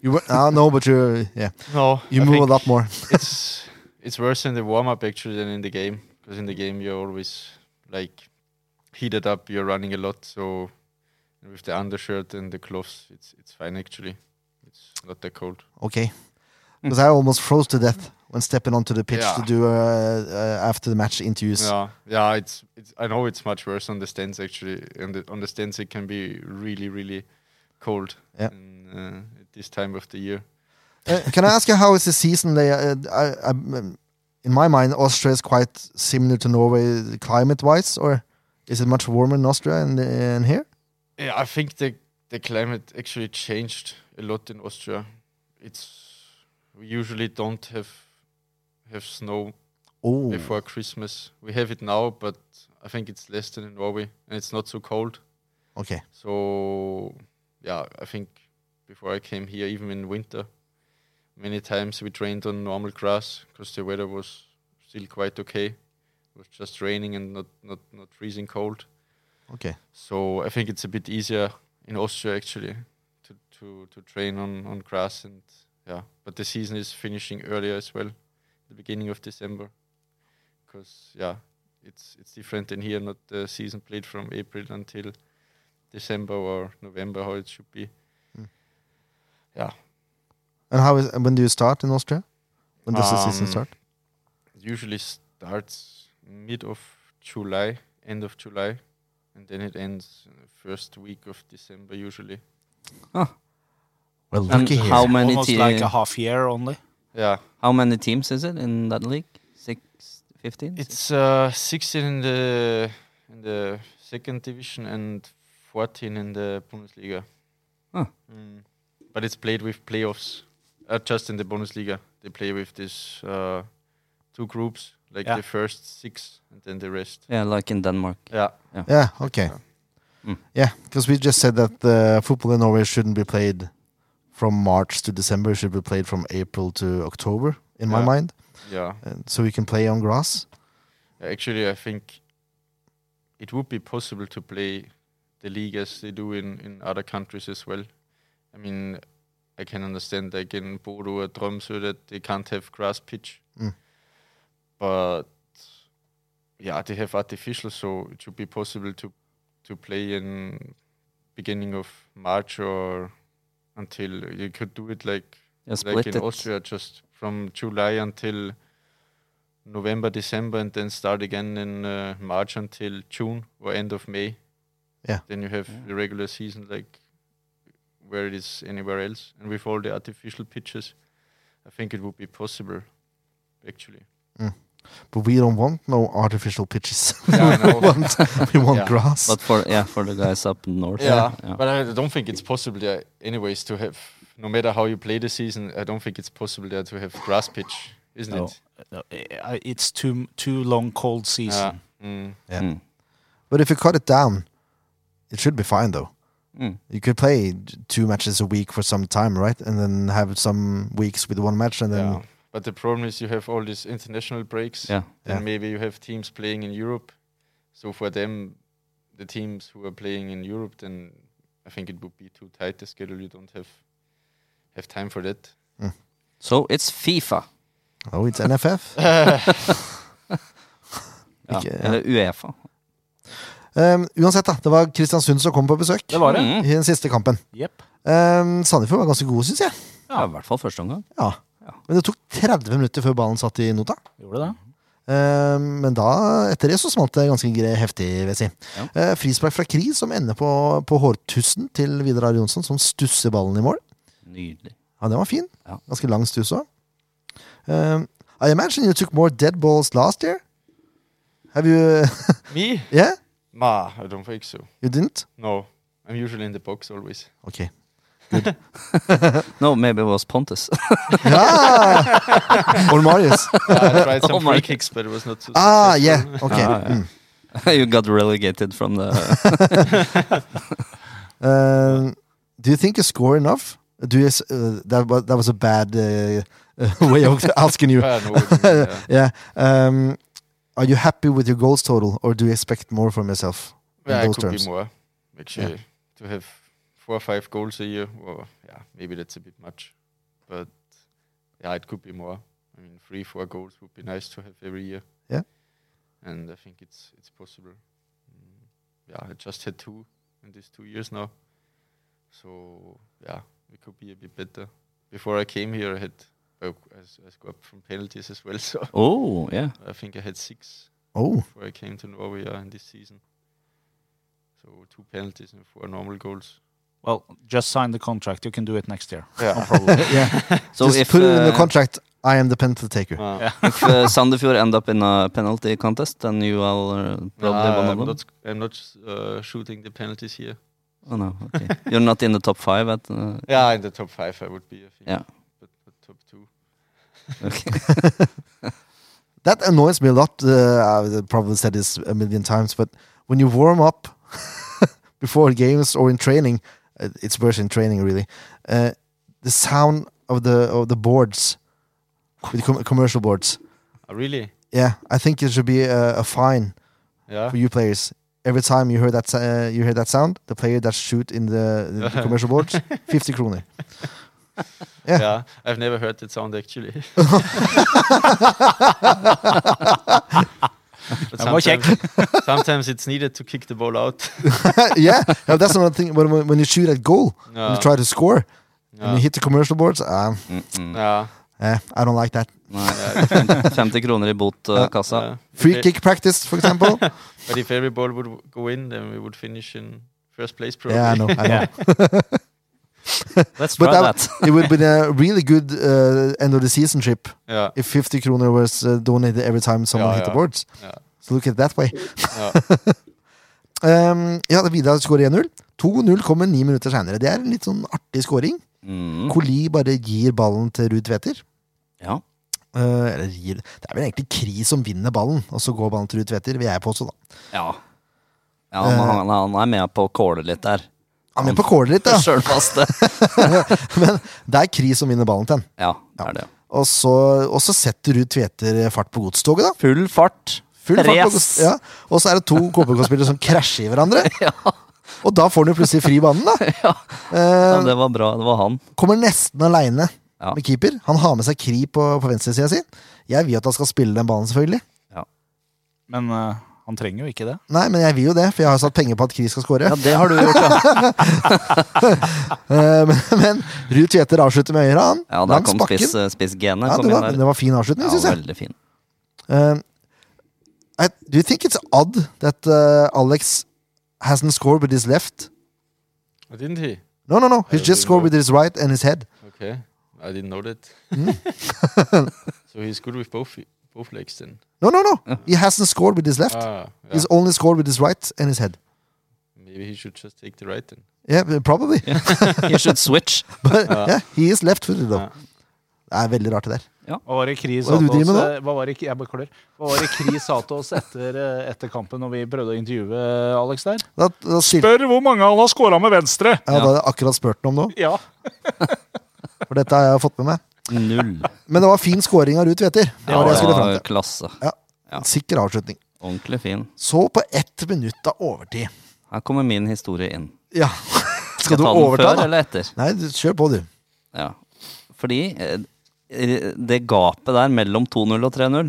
You were, uh, no, but you, yeah,
No,
you
I
move a
think
lot more.
it's it's worse in the warm up actually than in the game because in the game you're always like heated up. You're running a lot, so with the undershirt and the gloves, it's it's fine actually. It's not that cold.
Okay. Because I almost froze to death when stepping onto the pitch
Yeah.
to do uh, uh, after the match interviews.
Yeah, yeah. It's, it's I know it's much worse on the stands actually, and the, on the stands it can be really, really cold.
Yeah.
in, uh, at this time of the year.
Uh, can I ask you how is the season? They, uh, I, I, um, in my mind, Austria is quite similar to Norway climate-wise, or is it much warmer in Austria and, uh, and here?
Yeah, I think the the climate actually changed a lot in Austria. It's we usually don't have have snow
Oh,
before Christmas. We have it now, but I think it's less than in Norway, and it's not so cold.
okay.
So yeah, I think before I came here, even in winter, many times we trained on normal grass because the weather was still quite okay. It was just raining and not, not, not freezing cold.
Okay.
So I think it's a bit easier in Austria actually to, to, to train on, on grass and yeah. But the season is finishing earlier as well, the beginning of December, because yeah, it's it's different in here. Not the season played from April until December or November, how it should be.
And how is when do you start in Austria? When does the season
Um,
start?
It usually starts mid of July, end of July, and then it ends uh, first week of December usually.
Well,
And
looky
Mm. how
here.
many
Almost
te-
like a half year only.
Yeah,
How many teams is it in that league? Six, 15?
It's uh, 16 in the in the second division and 14 in the Bundesliga.
Huh.
Mm. But it's played with playoffs. Uh, just in the Bundesliga, they play with this uh, two groups, like
Yeah.
the first six and then the rest.
yeah, like in Denmark.
Yeah,
Yeah. Okay.
Mm.
Yeah, because we just said that uh, football in Norway shouldn't be played from March to December. It should be played from April to October, in my
Yeah.
mind,
yeah.
and so we can play on grass.
Actually, I think it would be possible to play the league as they do in, in other countries as well. I mean, I can understand like in Bodo or Tromsø that they can't have grass pitch,
Mm.
but yeah, they have artificial, so it should be possible to to play in beginning of March or until you could do it like
Yeah,
like
split
in
it.
Austria, just from July until November, December, and then start again in uh, March until June or end of May.
Yeah.
Then you have
Yeah.
the regular season, like where it is anywhere else, and with all the artificial pitches, I think it would be possible, actually.
But we don't want no artificial pitches.
Yeah, I
we
know.
want, we want
Yeah.
grass.
But for yeah, for the guys up north.
Yeah, but I don't think it's possible there, anyways, to have. No matter how you play the season, I don't think it's possible there to have grass pitch, isn't
No.
it?
Uh, uh, It's too too long cold
Yeah.
season.
Mm.
Yeah.
Mm.
But if you cut it down, it should be fine though.
Mm.
You could play j- two matches a week for some time, right? And then have some weeks with one match, and then
yeah. But the problem is you have all these international breaks.
Yeah.
Then
Yeah.
maybe you have teams playing in Europe. So for them, the teams who are playing in Europe, then I think it would be too tight the schedule. You don't have have time for that.
So it's FIFA.
oh, it's NFF.
Ja.
Ikke- ja.
Eller Uefa.
Um, uansett, da. Det var Kristiansund som kom på besøk
Det var det.
Mm.
i den siste kampen.
Jepp.
Um, Sandefjord var ganske gode, syns jeg.
Ja, I hvert fall første omgang.
Ja. Men det tok 30 minutter før ballen satt i nota.
Gjorde det?
Um, men da, etter det så smalt det ganske gre- heftig, vil jeg si.
Ja.
Eh, frispark fra Kri, som ender på, på hårtussen til Vidar Ari Jonsson, som stusser ballen i mål.
Nydelig.
Ja, den var fin.
Ja.
Ganske lang stuss òg. Um, I imagine you took more dead balls last year. Have you
Me?
Yeah?
Ma, I don't think so.
You didn't?
No, I'm usually in the box always.
Ok.
No, maybe it was Pontus.
Ja! Or Marius.
I tried some
Oh my
free
God.
kicks, but it was not so.
Ah,
successful.
yeah. Ok.
Ah, ja.
Mm.
you got relegated from the
Um, do you think you score enough? Do you, s- uh, that, was, that was a bad uh, way of asking you.
Ah, no, what do you mean, yeah.
Yeah. Um, are you happy with your goals
er
total, or do you expect more from yourself? in
Yeah, it
those
could
terms.
be more. Actually, to have four or five goals a year. Well, yeah, maybe that's a bit much, but yeah, it could be more. I mean, three, four goals would be nice to have every year.
Yeah.
and I think it's it's possible. Mm, Yeah, I just had two in these two years now, so yeah, we could be a bit better. Before I came here, I had I, I s- I scored from penalties as well, so
Oh, yeah.
I think I had six
Oh,
before I came to Norway yeah, in this season. So two penalties and four normal goals.
Well, just sign the contract. You can do it next year.
Yeah.
No problem.
yeah.
So
Just
if,
put it in the
uh,
contract. I am the penalty taker.
Ah.
if uh, Sandefjord end up in a penalty contest, then you are uh, probably
Ah,
one
I'm
of them.
not, I'm not uh, shooting the penalties here.
Oh, no. okay. You're not in the top five at uh,
Yeah, in the top five I would be, I think.
Yeah.
But, but top two.
okay.
That annoys me a lot. Uh, I've probably said this a million times, but when you warm up before games or in training, uh, it's worse in training really. Uh, the sound of the of the boards, with com- commercial boards.
Ah, really?
Yeah, I think it should be a, a fine
Yeah.
for you players. Every time you hear that s- uh, you hear that sound, the player that shoot in the, the, the commercial boards, fifty kroner. yeah.
yeah. I've never heard that sound actually. But
That was check.
sometimes- sometimes it's needed to kick the ball out.
yeah, no, that's another thing. When, when when you shoot at goal, when
No,
you try to score,
no,
when you hit the commercial boards, um,
Mm-mm.
no,
eh, I don't like that.
Nei,
yeah, it's-
50 kroner i bot, uh, kassa.
yeah. If
Free
e-
kick practice, for example.
But if every ball would w- go in, then we would finish in first place probably.
yeah, I know. I know.
Yeah. Let's
But
try
that-
that.
it would be a really good uh, end of the season trip
Yeah,
if 50 kroner was uh, donated every time someone
Ja,
hit the
ja.
boards.
Ja.
Så look at it that way.
ja.
Um, ja, Vidar skårer 1-0. 2-0 kommer ni minutter seinere. Det er en litt sånn artig skåring.
Mm.
Koli bare gir ballen til Ruud Tveter.
Ja.
Eh, eller gir Det er vel egentlig Kri som vinner ballen, og så går ballen til Ruud Tveter, vil jeg påstå. da
ja. Ja,
Eh.
han, han, han er med på å kåle litt der.
Han er med på kålet litt, da.
Sjølfaste.
Men det er Kri som vinner ballen til han.
Ja, det er det.
Og så, og så setter Ruud Tveter fart på godstoget, da.
Full fart.
Full fart på
Press.
gods, ja. Og så er det to KBK-spillere som krasjer i hverandre. Og da får han jo plutselig fri banen, da.
Ja,
Eh,
det var bra. Det var han.
kommer nesten aleine
Ja.
med keeper. Han har med seg Kri på, på venstresida si. Jeg vil at han skal spille den ballen, selvfølgelig.
Men eh, han trenger jo ikke det.
Nei, men jeg vil jo det, for jeg har satt penger på at Kri skal score.
Ja, det har du gjort, ja.
Eh, men men Ruud Tveter avslutter med øyre, han.
Ja, der
langs
kom
bakken.
spiss, eh, spissgenet.
ja,
kom
det,
inn
var,
der.
det var fin avslutning,
Ja,
synes syns jeg.
veldig fin.
Um, I, do you think it's odd that uh, Alex hasn't scored with his left?
Oh, Didn't he?
No, no, no. He's
I
just
don't
scored
know.
with his right and his head.
Okay, I didn't know that. so he's good with both fe- both legs then.
No, no, no. He hasn't scored with his left.
Ah, yeah.
He's only scored with his right and his head.
Maybe he should just take the right then.
Yeah, but probably.
You should switch.
But yeah, he is left-footed though.
Ja.
Det er veldig rart det der.
Hva var det Kri
Hva
sa
er det
til
du
oss
driver med
eh, Hva var det, jeg beklager. Hva var det Kri sa til oss etter, eh, etter kampen når vi prøvde å intervjue eh, Alex der?
Da, da, sier,
Spør hvor mange han har scora med venstre!
ja, da hadde jeg akkurat spurt den om nå,
Ja.
for dette har jeg fått med meg.
Null.
Men det var fin scoring av Ruud Tveter. Det var det jeg skulle fram til.
klasse. ja.
Sikker avslutning.
Ordentlig fin.
Så på ett minutt av overtid.
Her kommer min historie inn.
Ja. Skal
jeg
du
ta den
overta,
før
da?
eller etter?
Nei, du- kjør på, du.
Ja. Fordi eh, det gapet der mellom 2-0 og 3-0,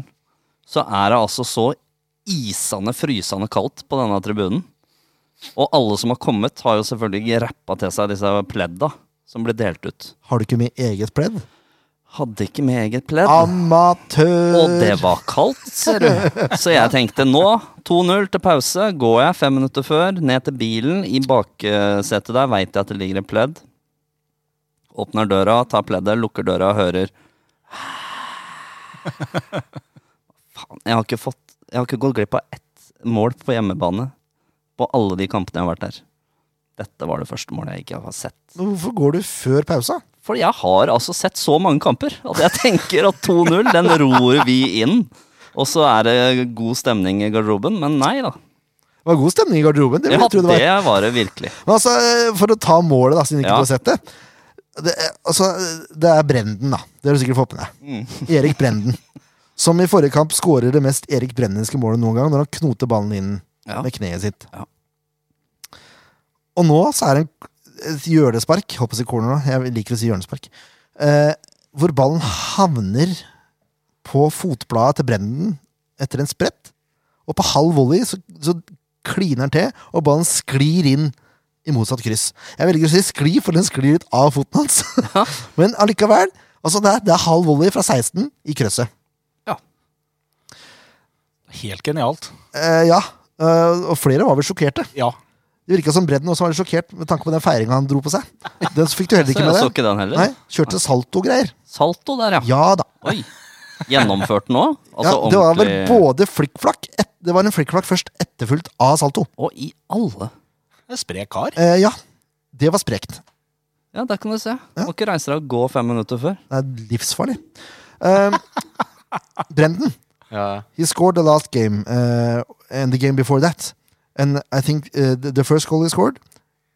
så er det altså så isende, frysende kaldt på denne tribunen. Og alle som har kommet, har jo selvfølgelig rappa til seg disse pledda som ble delt ut.
Har du ikke med eget pledd?
Hadde ikke med eget pledd.
Amatør!
Og det var kaldt, ser du. Så jeg tenkte nå, 2-0 til pause, går jeg fem minutter før, ned til bilen. I baksetet der veit jeg at det ligger et pledd. Åpner døra, tar pleddet, lukker døra og hører Faen, jeg har ikke fått Jeg har ikke gått glipp av ett mål på hjemmebane på alle de kampene jeg har vært der. Dette var det første målet jeg ikke har sett.
Men Hvorfor går du før pausa?
Fordi jeg har altså sett så mange kamper at jeg tenker at 2-0, den ror vi inn. Og så er det god stemning i garderoben, men nei da.
Det var god stemning i garderoben. Det vil
Ja,
jeg tro det var.
det var det virkelig.
Men altså, eh, for å ta målet, da, siden ikke
Ja.
du har sett det. Det er, altså, eh, det er Brenden, da. Det har du sikkert fått med deg.
Mm.
Erik Brenden. Som i forrige kamp skårer det mest Erik Brendenske målet noen gang, når han knoter ballen inn
Ja.
med kneet sitt.
Ja.
Og nå så er han et hjørnespark Håper jeg sier corner nå. Jeg liker å si hjørnespark. Eh, hvor ballen havner på fotbladet til Brenden etter en sprett. Og på halv volley så, så kliner den til, og ballen sklir inn i motsatt kryss. Jeg velger å si skli, for den sklir ut av foten hans. Men allikevel. Altså det, er, det er halv volley fra 16 i krysset.
Helt genialt.
Eh, ja. eh, og flere var vel sjokkerte.
Ja.
Det virka som Bredden også var litt sjokkert med tanke på den feiringa han dro på seg. Den fikk du heller
Så
ikke
jeg
med
så
deg.
ikke den heller.
Nei, Kjørte salto-greier.
Salto der, ja.
Ja da.
Oi. Gjennomført nå? Altså
ja, det var vel
ordentlig
både flikkflakk et- Det var en flikkflakk først etterfulgt av salto.
Å, i alle
En sprek kar.
Eh, ja. Det var sprekt.
Ja, der kan du se. Må ikke reise deg og gå fem minutter før.
Det er livsfarlig. Eh, Brenden.
Yeah.
He scored the last game uh, and the game before that. And I think uh, the, the first goal he scored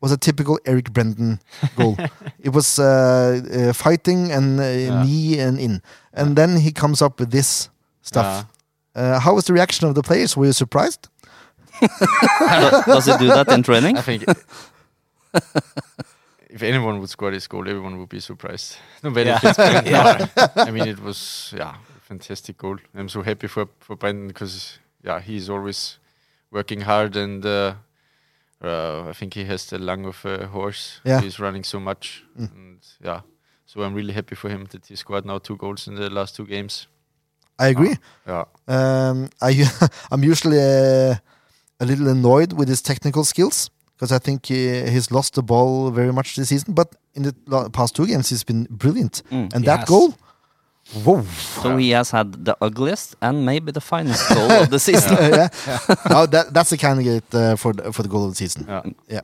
was a typical Eric Brendan goal. it was uh, uh, fighting and uh, knee and in. And then he comes up with this stuff. Uh, how was the reaction of the players? Were you surprised?
Does it do that in training?
I think if anyone would score this goal, everyone would be surprised. Nobody
Yeah.
thinks Brandon. I mean, it was yeah, a fantastic goal. I'm so happy for for Brandon because yeah, he's always working hard and uh, uh, I think he has the lung of a horse.
Yeah.
he's running so much and yeah. So I'm really happy for him that he scored now two goals in the last two games.
I agree.
Yeah,
Um, I, I'm usually uh, a little annoyed with his technical skills because I think he, he's lost the ball very much this season. But in the la- past two games, he's been brilliant. and that
Yes.
goal, whoa!
So he has had the ugliest and maybe the finest goal of the season.
yeah. No, that, that's the candidate uh, for the, for the goal of the season.
yeah,
Yeah.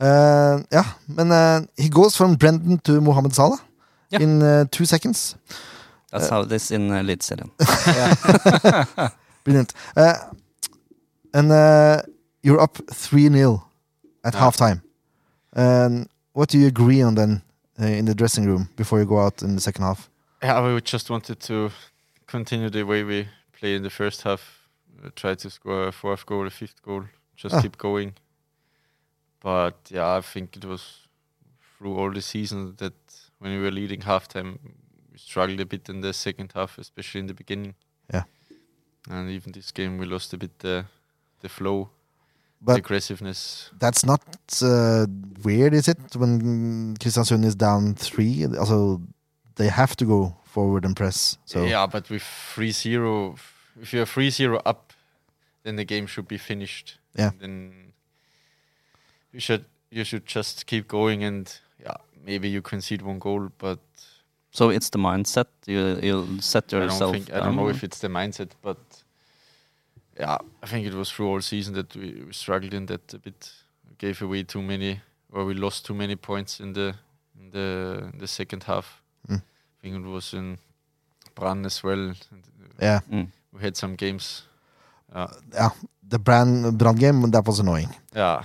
Uh, yeah, men uh, he goes from Brendan to Mohammed Salah
Yeah.
in uh, two seconds.
That's how this in uh, Eliteserien.
Brilliant. Uh, and uh, you're up 3 0 at
Yeah.
halftime. And what do you agree on then uh, in the dressing room before you go out in the second half?
Yeah, we just wanted to continue the way we play in the first half. Uh, try to score a fourth goal, a fifth goal. Just
Ah.
keep going. But yeah, I think it was through all the season that when we were leading halftime, we struggled a bit in the second half, especially in the beginning.
Yeah.
And even this game, we lost a bit the the flow, the
But
aggressiveness.
that's not uh, weird, is it? When Kristiansund is down three, also they have to go forward and press. So
Yeah, but with 3-0, if you're 3-0 up, then the game should be finished.
Yeah.
And then you should you should just keep going and yeah, maybe you concede one goal, but
So it's the mindset. You, you set
I don't
yourself um,
think I don't know
down.
if it's the mindset, but yeah, I think it was through all season that we, we struggled in that a bit. We gave away too many, or we lost too many points in the in the in the second half.
Mm.
I think it was in Brann as well. and
yeah,
Mm.
We had some games. Uh,
yeah. The brand brand game that was annoying.
yeah,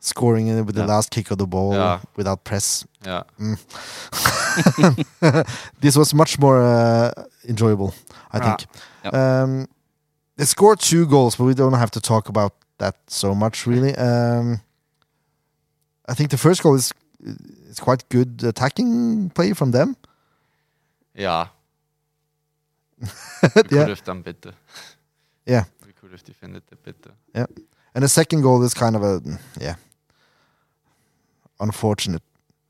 Scoring uh, with the
Yeah.
last kick of the ball
Yeah.
without press.
yeah.
this was much more uh, enjoyable, I
Yeah.
think.
Yeah.
Um, they scored two goals, but we don't have to talk about that so much, really. Um, I think the first goal is it's quite good attacking play from them.
Yeah. we could
Yeah.
have done better.
Yeah.
We could have defended that better.
And the second goal is kind of a yeah, unfortunate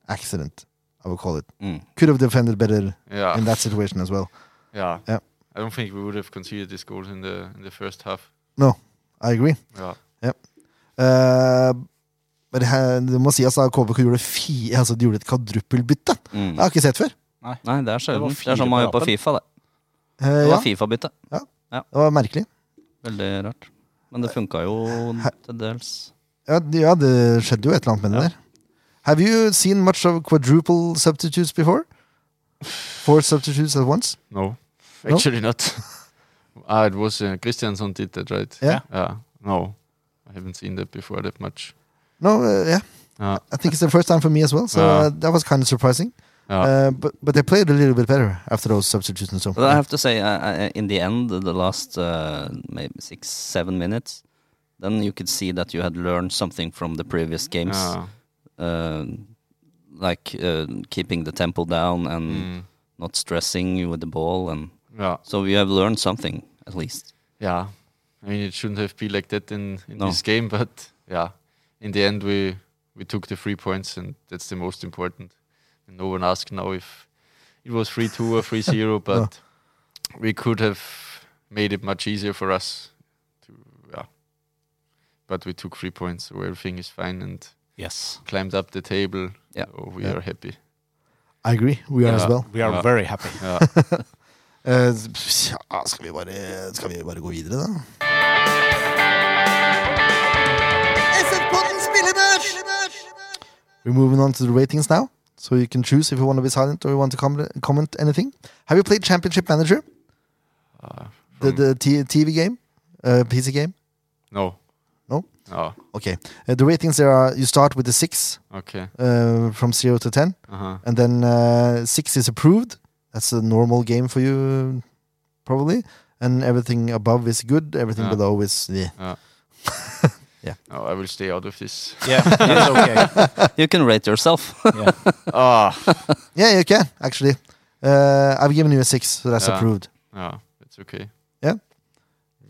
accident. I would call it.
Mm.
Could have defended better
Yeah.
in that situation as well.
yeah.
Yeah.
I don't think we would have conceded this goal in the in the first half.
I agree.
Yeah.
Eh, men det her- det må sies at KBK gjorde, fi, altså de gjorde et kvadruppelbytte.
Mm.
Jeg har ikke sett før.
Nei, det er sjelden.
Det
Det,
var
er sånn man
fire
gjør
på
på Fifa, det.
Eh,
Det
ja,
var Fifa-bytte.
det var merkelig.
Veldig rart. Men det funka jo til dels.
Ja, det- ja, det skjedde jo et eller annet med det der. Have you seen much of quadruple substitutes before? Four substitutes at once?
No.
No?
Actually not. ah, it was uh, Christianson did that, right?
Yeah.
Yeah. No. I haven't seen that before that much.
No, uh, yeah.
Yeah.
I think it's the first time for me as well, so
Yeah.
uh, that was kind of surprising.
Yeah.
Uh, but but they played a little bit better after those substitutions. So
But I have to say, uh, uh, in the end, the last uh, maybe six, seven minutes, then you could see that you had learned something from the previous games.
Yeah.
uh, like uh, keeping the tempo down and
Mm.
not stressing with the ball. And
Yeah.
so we have learned something at least.
Yeah. I mean, it shouldn't have been like that in, in
No.
this game, but yeah, in the end, we we took the three points, and that's the most important. And no one asked now if it was 3 2 or 3 0, but we could have made it much easier for us. To, yeah. But we took three points, so everything is fine and
Yes.
climbed up the table.
Yeah.
So we
Yeah.
are happy.
I agree. We are
Ja.
as well.
We are
Ja.
very happy.
Yeah.
Eh, s- ja, skal, vi bare, skal vi bare gå videre, da? We're moving on to the ratings now, so you can choose if you want to be silent or you want to com- comment anything. Have you played Championship Manager,
Uh,
the,
from-
the t- TV game, uh, PC game?
no.
No?
No.
Okay. Uh, the ratings there are you start with the six
Okay.
uh, from zero to ten,
Uh huh.
and then uh, six is approved. That's a normal game for you, probably. And everything above is good. Everything
Yeah.
below is yeah.
No, I will stay out of this.
Yeah, that's okay.
You can rate yourself.
Yeah.
Ah.
Yeah, you can actually. Uh, I've given you a six, so that's
Yeah.
approved.
Yeah, that's okay.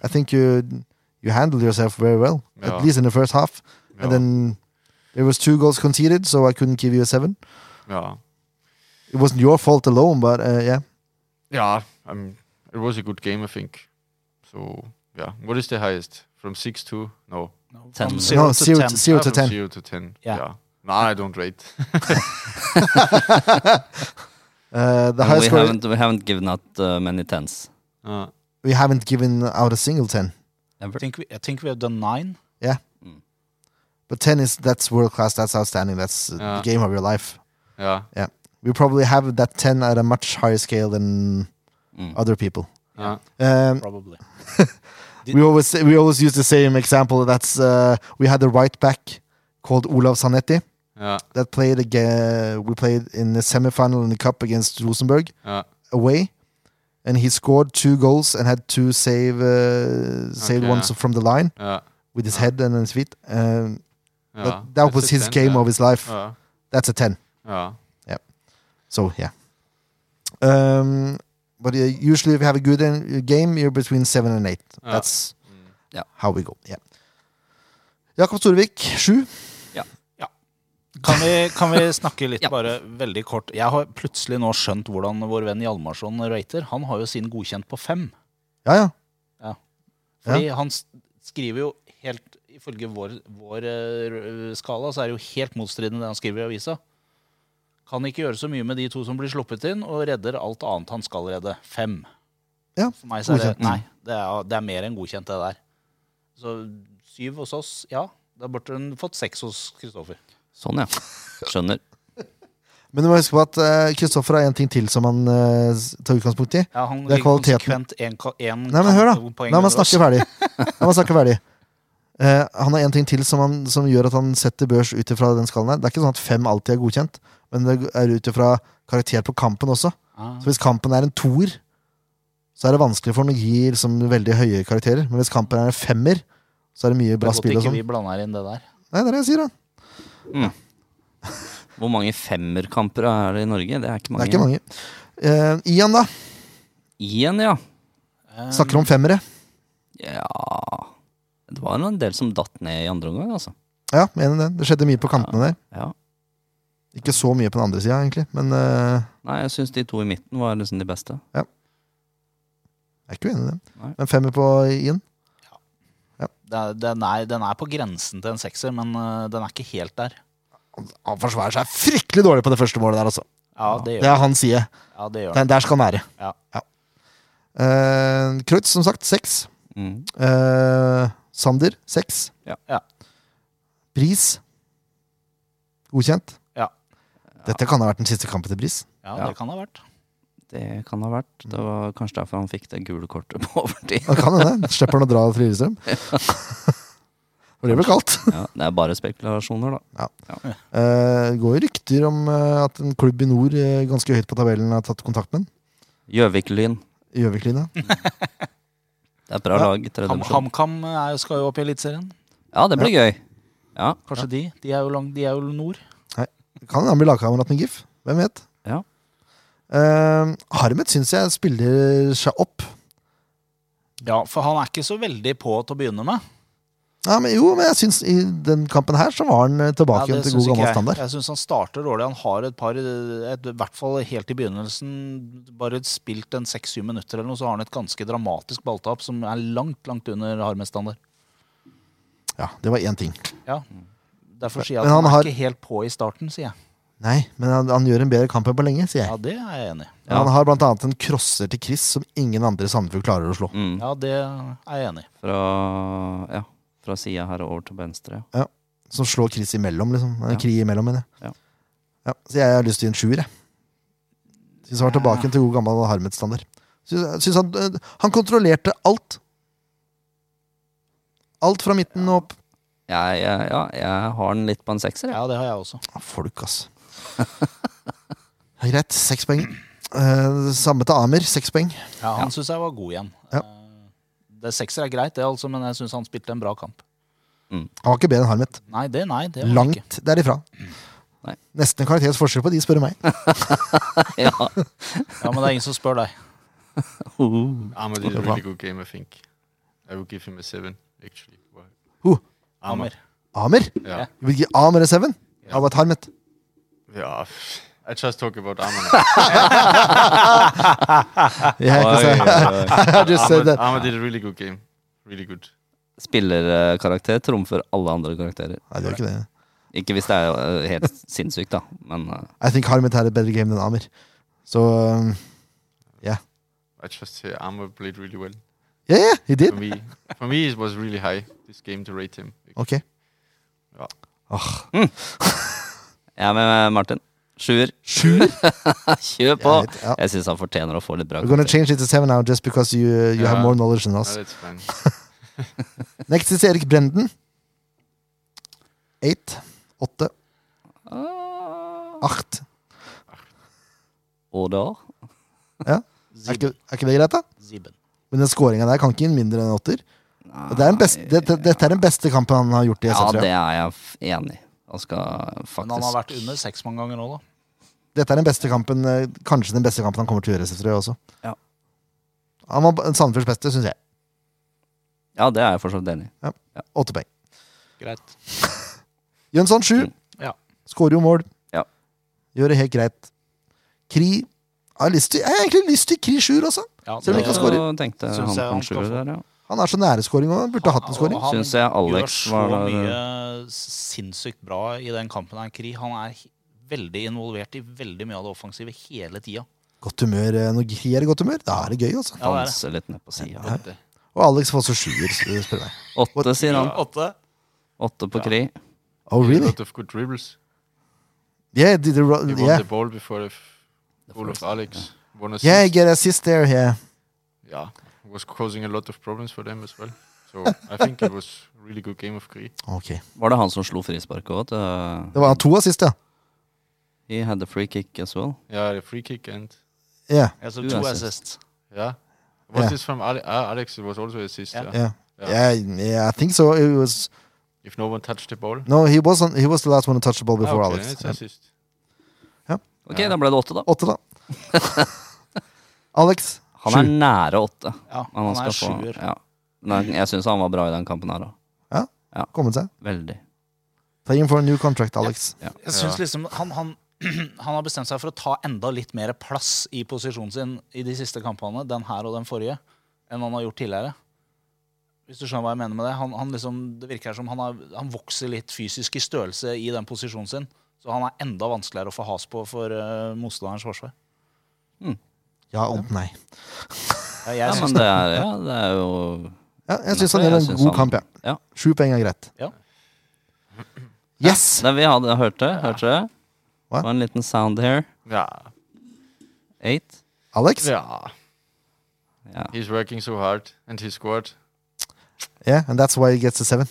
I think you you handled yourself very well,
Yeah.
at least in the first half.
Yeah,
And then there was two goals conceded, so I couldn't give you a seven.
yeah,
It wasn't your fault alone, but uh, yeah,
yeah. I'm. um, It was a good game, I think. So yeah, what is the highest from six to no?
No,
Ten.
from zero
no,
to
zero
ten.
to, zero
Ah,
to
from
ten.
Zero to ten.
Yeah.
Yeah. No, I don't rate.
Uh, the
And
highest
we
score.
haven't we haven't given out uh, many tens
Uh,
we haven't given out a single ten,
ever.
I think we, I think we have done nine.
but ten is that's world class. That's outstanding. That's uh, the
Yeah.
game of your life.
yeah,
We probably have that ten at a much higher scale than
Mm.
other people.
yeah,
Um,
Probably.
we always we always use the same example. That's uh, we had a right back called Olav Sanetti
yeah,
that played again. We played in the semifinal in the cup against Rosenborg
yeah.
away, and he scored two goals and had two save uh, saved
Okay,
ones
yeah.
from the line
yeah,
with his
Yeah.
head and his feet. Um,
yeah.
but that
Ah, That's
was
a
his
10,
game
yeah. Ah.
of his life.
Yeah,
That's a ten.
yeah,
So yeah. Um, but uh, usually, if you have a good uh, game, you're between seven and eight.
Ja.
That's
Mm.
how we go. Yeah. Jakob Storvik, sju.
Kan vi, kan vi snakke litt
Ja.
bare veldig kort? Jeg har plutselig nå skjønt hvordan vår venn Hjalmarsson rater. Han har jo sin godkjent på fem.
Ja, ja.
Fordi han s- skriver jo helt Ifølge vår, vår eh, r- skala så er det jo helt motstridende det han skriver i avisa. Kan ikke gjøre så mye med de to som blir sluppet inn, og redder alt annet han skal redde. Fem.
Ja,
For meg så er det
godkjent.
Nei, det er, det er mer enn godkjent, det der. Så syv hos oss, ja. Da burde hun fått seks hos Kristoffer.
Sånn, ja. Skjønner.
Men du må huske på at eh, Kristoffer har en ting til som han eh, s- tar utgangspunkt i.
Ja, han
Det er
ligger
kvaliteten.
konsekvent en ka- en
Nei, men hør, da.
kamp- poeng
La meg
under oss.
snakke ferdig. La meg snakke ferdig. Eh, han har en ting til som, han, som gjør at han setter børs ut ifra den skallen her. Det er ikke sånn at fem alltid er godkjent, men det er ut ifra karakter på kampen også.
Ah,
Så hvis kampen er en toer, så er det vanskelig for han å gi liksom, veldig høye karakterer. Men hvis kampen er en femmer, så er det mye
det
bra
er godt
spill og
ikke
sånn.
vi blander inn det der.
Nei, det er det jeg sier, da.
Hvor mange femmerkamper er det i Norge? Det er ikke
Det
mange.
er ikke mange. Eh, Ian, da.
Igjen, ja.
Eh,
Snakker om femmere.
Ja Det var en del som datt ned i andre omgang, altså.
Ja, mener det. Det skjedde mye på kantene der.
Ja.
Ikke så mye på den andre sida, egentlig, men eh,
Nei, jeg syns de to i midten var liksom de beste.
jeg er ikke uenig i det.
Nei.
Men femmer på Ian?
det er- den, er, den er på grensen til en sekser, men eh, den er ikke helt der.
Han forsvarer seg fryktelig dårlig på det første målet der, altså.
Ja, det
Det
gjør
er han sier.
Ja, det gjør den.
Der, der skal han være.
Ja.
Eh, Kreutz, som sagt, seks.
Mm.
Eh, Sander, seks.
Ja.
Ja.
Bris, godkjent.
Ja.
Dette kan ha vært den siste kampen til Bris.
Ja,
Ja.
det kan det ha vært.
Det kan ha vært. Det var kanskje derfor han fikk det gule kortet på overtid.
Det kan hende. Slipper han å dra til Lillestrøm. For det blir kaldt.
Ja, det er bare spekulasjoner, da.
Eh, Det går jo rykter om eh, at en klubb i nord eh, ganske høyt på tabellen har tatt kontakt med den.
Gjøvik-Lyn.
Gjøvik-Lina.
Det er et bra
Ja.
lag. tredje
Ham-
divisjon.
HamKam eh, er jo- skal jo opp i Eliteserien.
Ja, det blir gøy. Ja.
Kanskje de. De er, jo lang, de er jo nord.
Kan han bli lagkamerat med GIF? Hvem vet?
Ja.
Eh, Harmet syns jeg spiller seg opp.
Ja, for han er ikke så veldig på til å begynne med.
Ja, men jo, men jeg syns i den kampen her så var han eh, tilbake
Ja,
igjen
det
til god
synes ikke
gammel
jeg.
standard.
Jeg syns han starter dårlig. Han har et par, et, i hvert fall helt i begynnelsen, bare spilt en seks-syv minutter eller noe, så har han et ganske dramatisk balltap som er langt, langt under Harmes standard.
Ja, det var én ting.
Ja. Derfor sier
Men
jeg at
han
han,
har-
er ikke helt på i starten, sier jeg.
Nei, men han, han gjør en bedre kamp enn på lenge, sier jeg.
Ja, det er jeg enig i.
Ja.
Han har blant annet en crosser til Chris som ingen andre i Sandefjord klarer å slå.
Mm.
Ja, det er jeg enig i.
Fra, ja, fra sida her og over til venstre. ja.
Som slår Chris imellom, liksom.
Ja.
Ja. Kri imellom, mener jeg.
Ja.
Ja, så jeg har lyst til å gi en sjuer, jeg. Syns han var tilbake til god gammel Harmet-standard. Syns syns han, øh, han kontrollerte alt. Alt fra midten og opp.
Jeg, jeg, ja, jeg har den litt på en sekser, jeg.
Ja, det har jeg også.
Ah, Folk, ass. Ja, Greit, seks poeng. Eh, samme til Amer, seks poeng.
Ja, han syns jeg var god igjen.
Ja.
Eh, Det Sekser er greit, det, altså, men jeg syns han spilte en bra kamp.
Han var ikke bedre enn Harmet.
Nei, det nei, det var han ikke.
Langt derifra.
Mm. Nei.
Nesten en kvalitets forskjell på de, spør du meg.
Ja.
Ja, Men det er ingen som spør deg.
Uh,
Ahmed did a
Wow.
really good game, I think. I would give him a seven, actually. Wow.
Who?
Ahmed.
Hammer.
Amer?
Yeah.
Yeah.
You will give Amer a seven? How about Harmet?
Yeah, pff, I just talk about Ahmed.
Oi,
Yeah, 'cause I,
oi, oi.
I just said
Ahmed,
that.
Ahmed did a really good game. Really good.
Spillerkarakter trumfer alle andre karakterer.
Nei, det gjør ikke det.
Ikke hvis det er eh, helt sinnssykt, da. Men eh,
I think Harmet had a better game than Amer. Så um,
I just say Ahmed played really well.
Yeah, yeah, he
For
did.
me, for me, it was really high this game to rate him.
Ok.
jeg er med Martin. Sjuer.
Sjuer?
Kjør på!
Jeg vet, ja.
Jeg syns han fortjener å få litt bra
We're gonna
karakter.
change it to seven now just because you, you have
Ja.
more knowledge than
No,
us. Oh,
that's fine.
Next is Erik Brenden. Eight. Åtte. Acht.
Ah. Og da
Er ikke, er ikke det greit, da?
Zibben.
Men den skåringa der kan ikke inn mindre enn en åtter. Og Det er den beste, det, det, dette er den beste kampen han har gjort i
Ja,
SF.
det
tror jeg.
er jeg f- enig i. Han skal
Men han har
faktisk
vært under seks mange ganger nå, da.
Dette er den beste kampen, eh, kanskje den beste kampen han kommer til å gjøre i SF, tror jeg også.
Ja.
Han var Sandefjords beste, syns jeg.
Ja, det er jeg for så vidt enig i.
Åtte poeng.
Greit.
Jønsson sju.
Ja.
Skårer jo mål.
Ja.
Gjør det helt greit. Kri jeg har, lyst til, jeg har egentlig lyst til Kri sjuer også.
Ja,
Selv om ikke han scorer.
Så tenkte
Synes
han
jeg han
på en
skal
sjuer
få.
der, ja.
Han er så nære skåring òg. Burde hatt en skåring.
Han
Synes jeg Alex
gjør så
var der- eh,
mye sinnssykt bra i den kampen her, Kri. Han er he- veldig involvert i veldig mye av det offensive hele tida.
Godt humør. eh, Når Kri er i godt humør, da er det gøy, altså.
Ja, det er det.
Danser litt ned på sida.
Og Alex får også sjuer, s- eh, spør du meg.
Åtte, sier han.
Åtte.
Åtte på Kri.
Oh,
A
really?
lot of good dribbles.
Yeah, did the, ro-
He won
yeah.
the ball before the f- goal of Alex. Won assist.
yeah, get assist there. Yeah.
yeah, was causing a lot of problems for them as well. So I think it was really good game of Kree.
Ok.
Var det han som slo frisparket òg?
Det var to assist, ja.
He had a free kick as well.
Yeah, the free kick and
Yeah.
Ja, så
Du
to
er
assists.
yeah. Was
Yeah.
this from Ale- ah, Alex? It was also assist.
Yeah.
Yeah.
Yeah.
Ja.
Yeah, yeah, I think so. It was
If no one touched the ball.
No, he was on, he was the last one to touch the ball
Ah,
before
okay,
Alex.
It's
Ja.
assist.
Ok, da ble det åtte, da.
Åtte, da. Alex.
Han er nære åtte.
Ja,
Men
han er
skal få-
sjuer.
Ja. Men jeg syns han var bra i den kampen her òg.
Kommet seg.
Veldig.
Ta inn for en new contract, Alex.
Jeg synes liksom han, han, han har bestemt seg for å ta enda litt mer plass i posisjonen sin i de siste kampene, den her og den forrige, enn han har gjort tidligere. Hvis du skjønner hva jeg mener med det. Han, han liksom, det virker som han, har, han vokser litt fysisk i størrelse i den posisjonen sin. Så han er enda vanskeligere å få has på for eh, motstanderens forsvar.
Ja og nei.
Ja,
Ja, jeg
men
synes
det er, ja, det er jo
Ja, jeg syns han gjør en
synes
god
han-
kamp, ja.
ja.
Sju poeng er greit.
Ja.
Yes!
Det vi hadde hørt det, hørte det?
Hva?
Det var en liten sound here.
Yeah.
Eight.
Alex?
Yeah.
Ja.
He's working so hard and he scored.
Yeah, and that's why he gets a seven.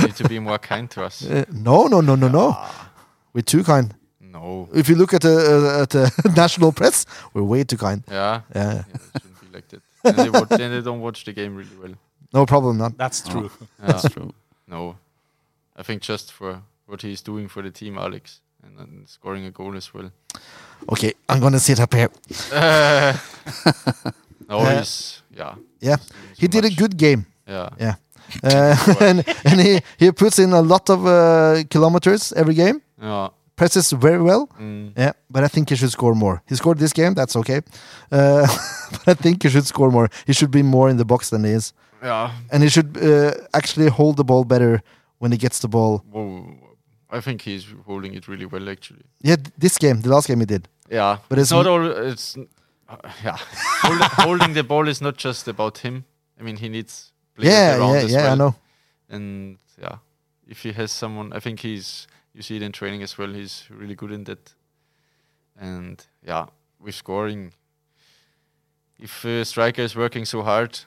Need to be more kind to us.
Uh, no, no, no, no, no. We're too kind.
No.
If you look at the, uh, at the national press, we're way too kind.
Yeah.
Yeah.
yeah it shouldn't be like that. And they, watch, then they don't watch the game really well.
No problem, not.
That's true.
Yeah.
That's true.
No. I think just for what he's doing for the team, Alex, and, and scoring a goal as well.
Okay, I'm gonna sit up here.
Uh, no,
Uh,
he's yeah.
Yeah, he did a good game.
Yeah,
Yeah, uh, and, and he he puts in a lot of uh, kilometers every game.
yeah.
Presses very well.
Mm.
Yeah, but I think he should score more. He scored this game, that's okay. Uh, but I think he should score more. He should be more in the box than he is,
yeah.
and he should uh, actually hold the ball better when he gets the ball.
Whoa. I think he's holding it really well, actually.
Yeah, th- this game, the last game he did.
Yeah,
But it's
not
n-
all. It's uh, yeah. Hold, holding the ball is not just about him. I mean, he needs players
yeah,
around
yeah,
as
yeah.
well.
I know.
And yeah, if he has someone, I think he's. You see it in training as well. He's really good in that. And yeah, with scoring, if a striker is working so hard,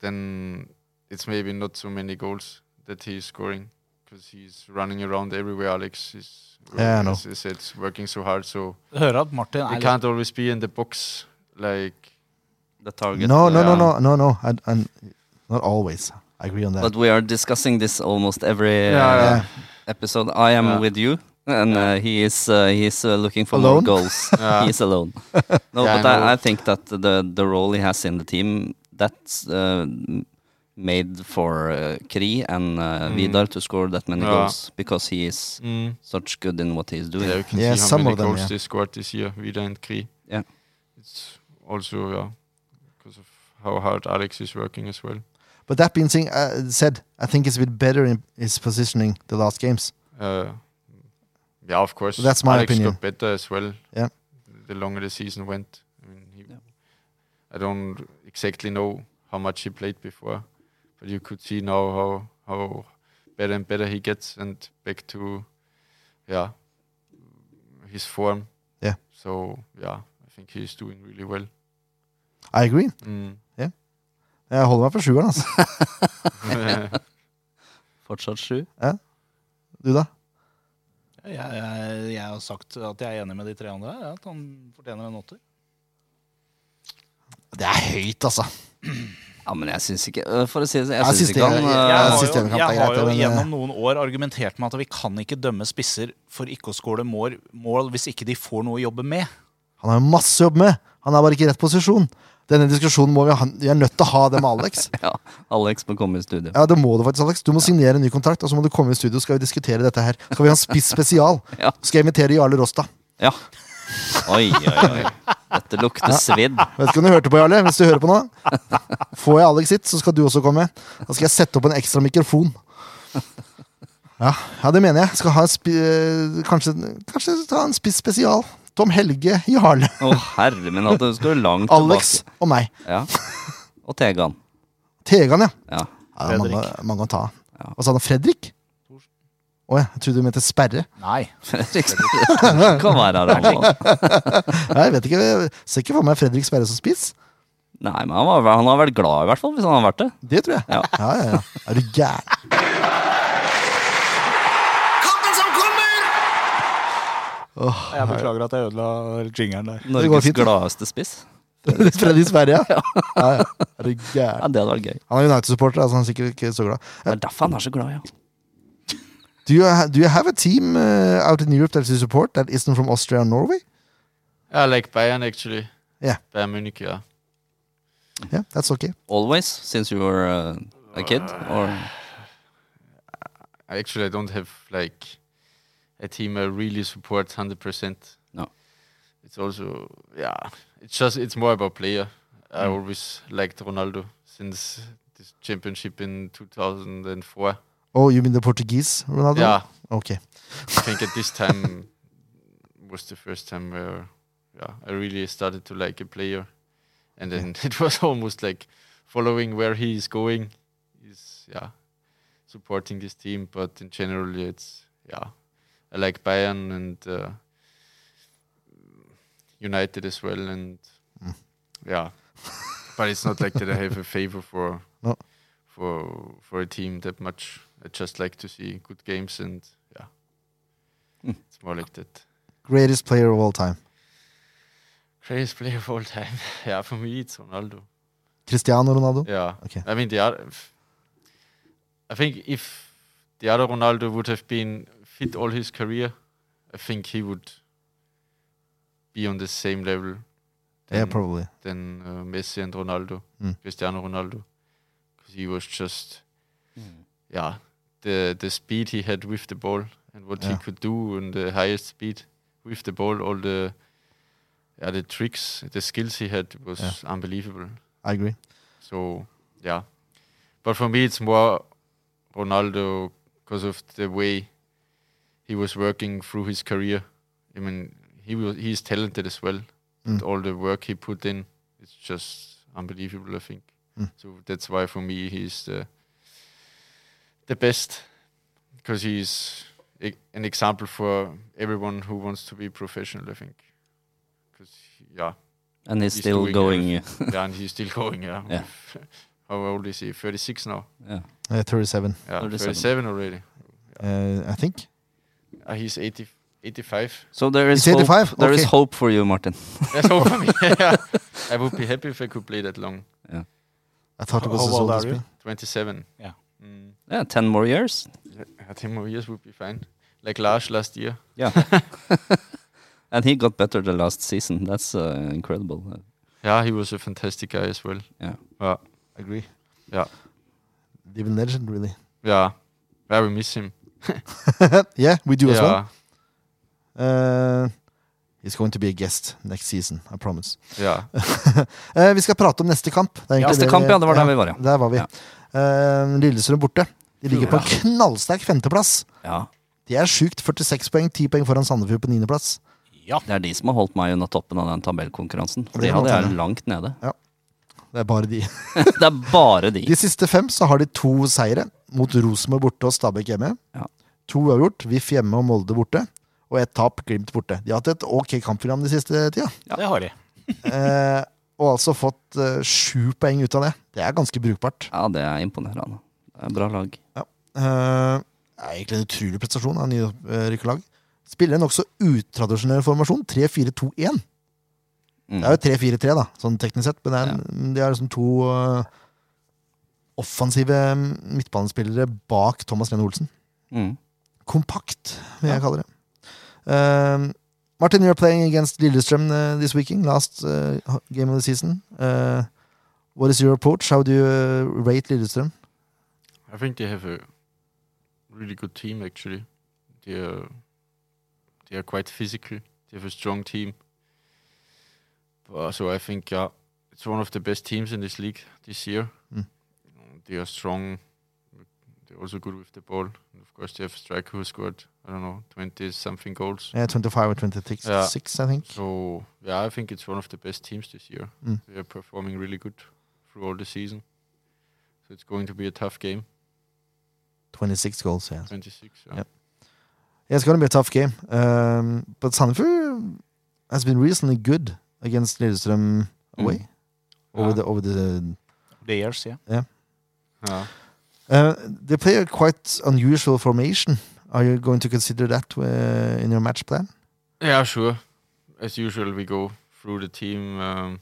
then it's maybe not so many goals that he's scoring because he's running around everywhere. Alex is,
Yeah, I know.
as I said, working so hard. So
Hører at Martin
they
er litt
can't always be in the box. Like
The uh, target.
No, no, no,
Yeah.
no, no, no. I, I'm not always. I agree on that.
But we are discussing this almost every
Yeah,
uh,
yeah.
episode. I am
Yeah.
with you, and uh, he is uh, he is uh, looking for
Alone?
more goals.
Yeah.
He is alone. No,
Yeah, I
but I,
know.
I think that the the role he has in the team that's uh, m- made for uh, Kri and uh,
Mm.
Vidar to score that many
Yeah.
goals because he is
Mm.
such good in what he is doing.
yeah, you can
Yeah,
see how
some
many
of them,
goals
yeah.
they scored this year, Vida and Kri.
Yeah.
it's also yeah, because of how hard Alex is working as well.
But that being sing, uh, said, I think it's a bit better in his positioning the last games.
Uh, yeah, of course.
That's my
Alex
opinion.
got better as well.
Yeah.
the longer the season went. I mean, he,
Yeah.
I don't exactly know how much he played before, but you could see now how how better and better he gets and back to, yeah, his form.
Yeah.
So yeah, I think he's doing really well.
I agree.
Mm.
Jeg holder meg på sjueren, altså.
Fortsatt sju.
Du, da?
jeg, jeg, jeg har sagt at jeg er enig med de tre andre her. At han fortjener en åtter.
Det er høyt, altså.
Ja, men jeg syns ikke øh, For å si det sånn, jeg
Jeg
syns
syns
ikke
det-
han
jeg-
Jeg
øh,
har,
synes
jo,
det kan ta
jeg har
greit,
jo
men, eh,
gjennom noen år argumentert med at vi kan ikke dømme spisser for ikke å skåle mål, mål hvis ikke de får noe å jobbe med.
Han har jo masse å jobbe med. Han er bare ikke i rett posisjon. Denne diskusjonen må vi ha. Vi er nødt til å ha det med Alex.
Ja, Alex må komme i studio.
Ja, det må du faktisk, Alex. Du må signere en ny kontrakt, og så må du komme i studio, skal vi diskutere dette her. Skal vi ha en spiss spesial?
Ja.
Skal jeg invitere Jarle Rosta?
Ja. Oi, oi, oi. Dette lukter svidd.
Vet ikke om du hørte på, Jarle, hvis du hører på nå. Får jeg Alex hit, så skal du også komme. Da skal jeg sette opp en ekstra mikrofon. Ja, ja det mener jeg. Skal ha en spi eh, kanskje, kanskje ta en spiss spesial. Tom Helge, Jarle,
Å, herre min hatt, du skal jo langt
Alex og meg.
tilbake. Ja. Og Tegan.
Tegan, ja.
Ja.
ja det er mange,
Fredrik.
mange å ta.
Ja.
Hva sa han? Fredrik? Å ja, jeg trodde du mente Sperre.
Nei.
Fredrik Sperre kan være her, han også.
Nei, jeg vet ikke, jeg ser ikke for meg Fredrik Sperre som spiss.
Nei, men han, var, han har vært glad, i hvert fall, hvis han har vært det.
Det tror jeg.
Ja.
Ja, ja, ja. Er du gæren?
Kampen som kommer!
Jeg beklager at jeg ødela jingeren der.
Det går
Norges
fint, det.
gladeste spiss.
Fredrik Sperre, ja. ja, ja. Er du
Ja,
gæren?
Det hadde vært gøy.
Han er United-supporter, altså han er sikkert ikke så glad.
Det er derfor han er så glad, ja.
Do you, ha- do you have a team uh, out in Europe that you support that isn't from Austria and Norway?
I like Bayern actually.
Yeah.
Bayern Munich. Yeah.
Yeah, that's okay.
Always, since you were uh, a kid. Or
I actually I don't have like a team I really support hundred percent.
No.
It's also yeah. It's just it's more about player. I always liked Ronaldo since this championship in two thousand and four.
Oh, you mean the Portuguese Ronaldo?
Yeah.
Okay.
I think at this time was the first time where yeah, I really started to like a player. And then it was almost like following where he is going is yeah supporting this team. But in general it's yeah. I like Bayern and uh, United as well and yeah. but it's not like that I have a favor for
No.
for for a team that much. I just like to see good games and yeah.
Mm.
It's more like that.
Greatest player of all time.
Greatest player of all time. yeah, for me it's Ronaldo.
Cristiano Ronaldo?
Yeah.
Oh, Okay.
I mean, they are. f- I think if the other Ronaldo would have been fit all his career, I think he would be on the same level
Yeah,
than,
probably.
than uh, Messi and Ronaldo,
Mm.
Cristiano Ronaldo, because he was just Mm. yeah the the speed he had with the ball and what he
Yeah.
could do and the highest speed with the ball, all the yeah, the tricks, the skills he had was
Yeah.
unbelievable.
I agree.
So yeah, but for me it's more Ronaldo because of the way he was working through his career. I mean, he was he's talented as well.
Mm.
But all the work he put in, it's just unbelievable. I think
Mm.
so. That's why for me he's the the best because he's e- an example for everyone who wants to be professional. I think because yeah,
And he's
He's
still
doing
going.
yeah, and he's still going. Yeah.
Yeah.
How old is he? 36 now.
Ja.
Uh, 37,
Yeah,
37.
37, already.
uh, I think.
Uh, he's 80, 85.
So there is,
He's 85?
hope, there is
Okay.
hope for you, Martin.
That's all for me. yeah. I would be happy if I could play that long.
I thought it
How-
was
how
his
old
oldest
are you?
spin.
27.
Yeah.
Mm.
Yeah, ten more years.
yeah. yeah, 10 more years would be fine. Like Lars last year.
Yeah. and he got better the last season. That's uh, incredible. Uh,
Yeah, he was a fantastic guy as well.
Yeah.
Yeah.
Agree.
Yeah.
Living legend, really.
Yeah. I will miss him.
yeah, we do
yeah.
as well. Uh, he's going to be a guest next season, I promise.
Yeah.
Eh, vi skal prate om neste kamp. Det er egentlig
Neste
vi-
kamp, ja, det var der vi var, ja.
Der var vi.
Ja.
Eh, Lillestrøm borte. De ligger på en knallsterk femteplass.
Ja,
De er sjukt 46 poeng, 10 poeng foran Sandefjord på niendeplass.
Ja.
Det er de som har holdt meg under toppen av den tabellkonkurransen. For
Det
de
kan
hadde
godt
jeg langt nede.
Det er bare de.
Det er bare de.
De siste fem så har de to seire, mot Rosenborg borte og Stabæk hjemme.
Ja.
To uavgjort, VIF hjemme og Molde borte. Og ett tap, Glimt borte. De har hatt et ok kampprogram de siste tida.
Det har de.
Eh, og altså fått eh, sju poeng ut av det. Det er ganske brukbart.
Ja, det er imponerende. Det er bra lag.
Eh, det er egentlig en utrolig prestasjon av nyrykket lag. Spiller en nokså utradisjonell formasjon. 3-4-2-1.
Mm.
Det er jo 3-4-3, da, sånn teknisk sett. Men det er, de har liksom to eh, offensive mm, midtbanespillere bak Thomas Lene Olsen.
Mm.
Kompakt, vil jeg kalle det. Eh, Martin, you're playing against Lillestrøm eh, this weekend, last eh, game of the season. Eh, what is your approach? How do you eh, rate Lillestrøm?
I think they have a really good team actually. They are they are quite physical. They have a strong team. Uh, so I think uh, it's one of the best teams in this league this year.
Mm.
They are strong. They're also good with the ball. And of course, they have a striker who scored I don't know twenty something goals.
Eh, 25 or 26,
Ja.
six, I think.
So yeah, I think it's one of the best teams this year.
Mm.
They are performing really good through all the season. So it's going to be a tough game.
26 goals, yeah.
Twenty six.
Yep. Yeah, it's going to be a tough game. Um, but Sandefjord has been recently good against Lillestrøm away
Mm.
over
Yeah.
the over the.
The years, yeah.
Yeah.
Uh, they play a quite unusual formation. Are you going to consider that uh, in your match plan?
Yeah, sure. As usual, we go through the team. Um,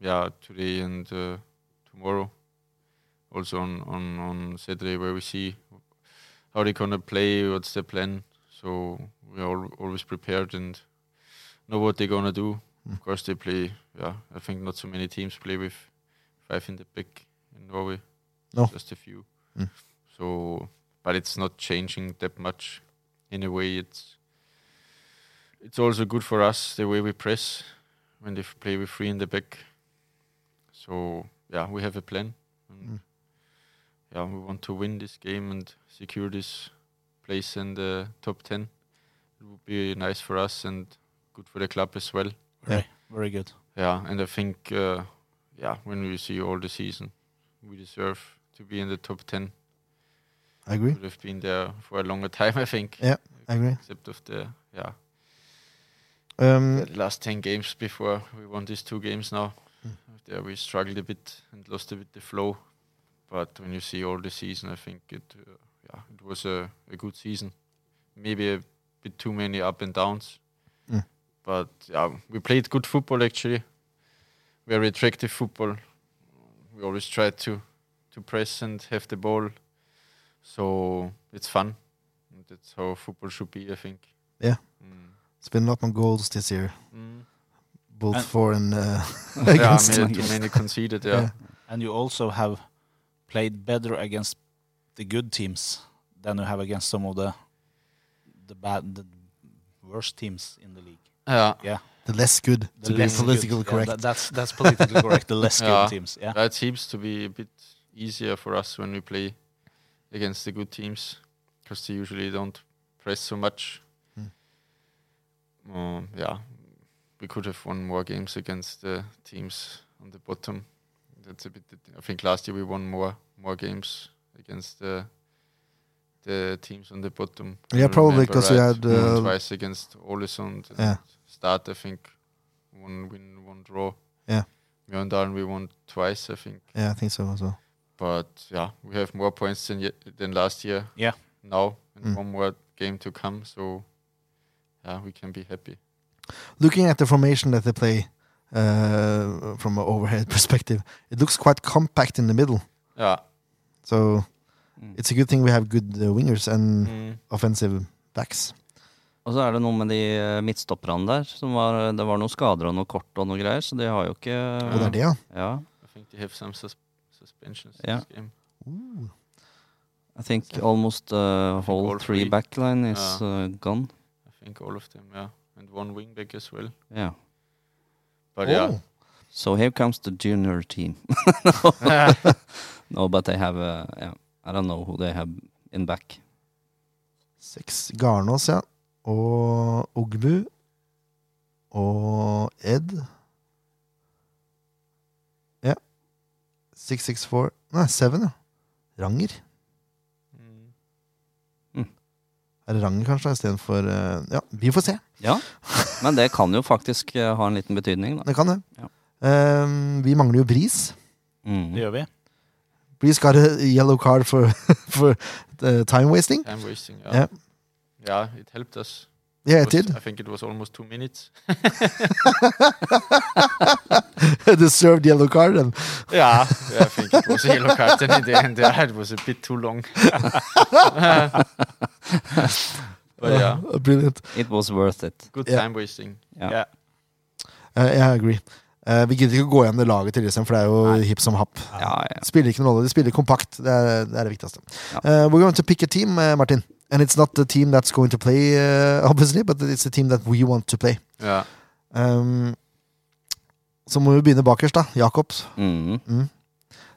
yeah, today and uh, tomorrow. Also on, on on Saturday, where we see how they're gonna play, what's their plan. So we're all, always prepared and know what they're gonna do.
Mm.
Of course, they play. Yeah, I think not so many teams play with five in the back in Norway.
No.
just a few.
Mm.
So, but it's not changing that much. In a way, it's it's also good for us the way we press when they f- play with three in the back. So yeah, we have a plan. And
Mm.
Yeah, we want to win this game and secure this place in the top ten. It would be nice for us and good for the club as well.
Very good.
Yeah, and I think uh, yeah, when we see all the season, we deserve to be in the top ten.
I agree.
Would have been there for a longer time, I think.
Yeah. I agree.
Except of the yeah
Um,
the last 10 games before we won these two games now.
Mm.
There we struggled a bit and lost a bit the flow. But when you see all the season, I think it uh, yeah, it was a, a good season. Maybe a bit too many up and downs.
Mm.
But yeah, we played good football actually. Very attractive football. We always tried to to press and have the ball, So it's fun. That's how football should be, I think.
Yeah.
Mm.
It's been a lot more goals this year,
Mm.
both
And-
for and uh,
Yeah,
against.
I mean, too many conceded. Yeah.
Yeah.
And you also have played better against the good teams than you have against some of the the bad, the worst teams in the league.
yeah.
The less good,
The
to be
less good-
politically
yeah,
correct.
that- that's that's politically correct. The less good
Yeah.
teams. Yeah.
That seems er to be a bit easier for us when we play against the good teams because they usually don't press so much.
Mm.
Um, yeah, we could have won more games against the teams on the bottom. That's a bit. I think last year we won more more games against the the teams on the bottom. if
Yeah,
I
probably
remember
'cause we
right.
had, uh,
twice against Ålesund. and
Yeah.
Start I think one win, one draw.
Yeah.
Mjøndalen we won twice I think.
Yeah, I think so as well.
But yeah, we have more points than ye- than last year.
Yeah.
Now and
Mm.
one more game to come, so yeah, we can be happy.
Looking at the formation that they play uh, from an overhead perspective, it looks quite compact in the middle.
Yeah.
So
Mm.
it's a good thing we have good uh, wingers and
Mm.
offensive backs.
Og så er det noe med de eh, midtstopperne der. Som var, det var noen skader og noe kort og noe greier, så de har jo ikke
Og det
Mm.
er det, ja.
Ja.
I think they have some sus- suspensions
Yeah.
this game.
Ooh.
I think almost uh, whole
All
three
three.
backline is
Ja.
uh, gone.
I think all of them, yeah. And one wingback as well.
Yeah.
But
Oh.
So here comes the junior team.
yeah.
No, but they have uh, yeah, I don't know who they have in back.
Seks Garnås, ja. Og Ogbu. Og Ed. Ja. 664 Nei, Seven, ja. Ranger.
Mm.
Er det Ranger, kanskje, istedenfor uh, Ja, vi får se.
Ja, men det kan jo faktisk eh, ha en liten betydning, da.
Det kan det.
Ja.
Ehm, vi mangler jo Bris.
Det
Mm.
gjør vi.
Bris got a yellow card for, for uh, time wasting.
Time wasting, yeah.
Yeah.
yeah. Yeah, it helped us.
Yeah, it
Was-
did.
I think it was almost two minutes.
Deserved yellow card. And
Yeah, yeah, I think it was a yellow card and in the end. Yeah, it was a bit too long. but yeah,
Uh, brilliant.
It was worth it.
good
Yeah.
time wasting.
Ja.
Ja.
Uh, yeah, I agree. Uh, vi gidder ikke å gå gjennom det laget til Lillestrøm, for det er jo hipp som happ.
Ja, ja.
Spiller ikke noen rolle. De spiller kompakt. Det er det, er det viktigste.
Ja.
Uh, we're going to pick a team, uh, Martin. And it's not the team that's going to play, uh, obviously, but it's the team that we want to play.
Yeah,
Um, så må vi begynne bakerst, da. Jacobs.
Mm.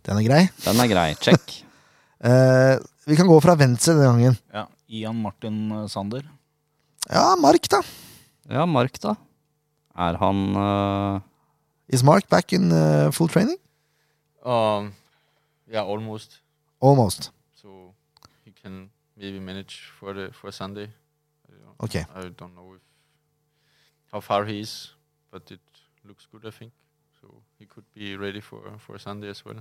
Den er grei.
Den er grei. Check.
Eh, vi kan gå fra venstre denne gangen.
ja. Ian Martin eh, Sander.
Ja, Mark, da.
Ja, Mark, da. Er han eh,
Is Mark back in eh, full training?
um, yeah, almost.
Almost.
So you can maybe manage for the for Sunday. I don't,
Okay.
I don't know if how far he is, but it looks good. I think so. He could be ready for for Sunday as well.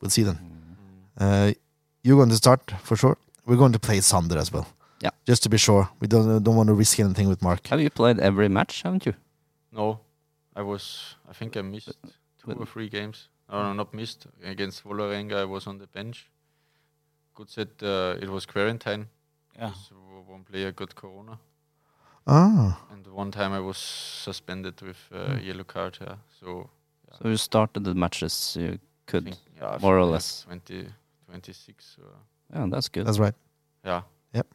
We'll see then.
mm.
Eh, you're going to start, for sure. We're going to play Sander as well.
Yeah.
Just to be sure. We don't, don't want to risk anything with Mark.
Have you played every match, haven't you?
No, I was. I think I missed two
but-
or three games. No, no, not missed. Against Vålerenga, I was on the bench. Good set. Uh, it was quarantine.
Ja.
So one player got corona,
Ah,
and one time I was suspended with uh,
Hmm.
yellow card. Yeah. So
So you started the matches you
I
could.
think, yeah, I
more or
think uh, I had
less.
20, 26. Or,
Yeah, that's good.
that's right.
yeah.
Yep.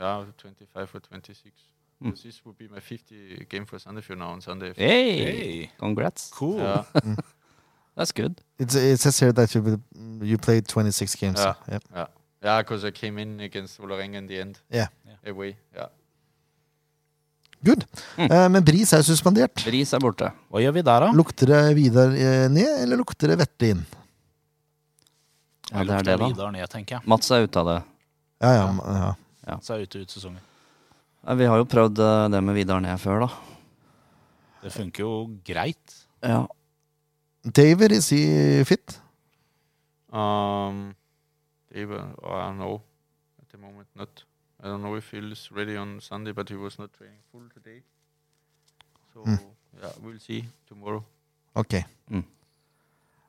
Yeah, 25 or 26.
Hmm.
Because This would be my 50 game for Sunday for now on Sunday.
Hey! Congrats.
Cool.
Yeah.
That's good.
It's, it says here that you, will- you played 26 games.
Ja.
Yep.
Yeah, because I came in against Vålerenga in the end.
Yeah.
Yeah.
Away. Yeah.
Good.
Mm.
Eh, men Bris er jo suspendert.
Bris er borte.
Hva gjør vi der, da?
Lukter det Vidar eh, ned, eller lukter det Vetle inn?
Ja, det er det, da.
Vidar ned, tenker jeg.
Mats er ute av det.
Ja, ja. ma- ja.
Så er jeg ute ut sesongen.
Nei, Vi har jo prøvd eh, det med Vidar ned før, da.
Det funker jo greit.
Ja.
David, is he fit?
Um, they were, oh, I don't know. At the moment, not. I don't know if he's ready on Sunday, but he was not training full today. So
Hmm.
yeah, we'll see tomorrow.
Ok.
Mm.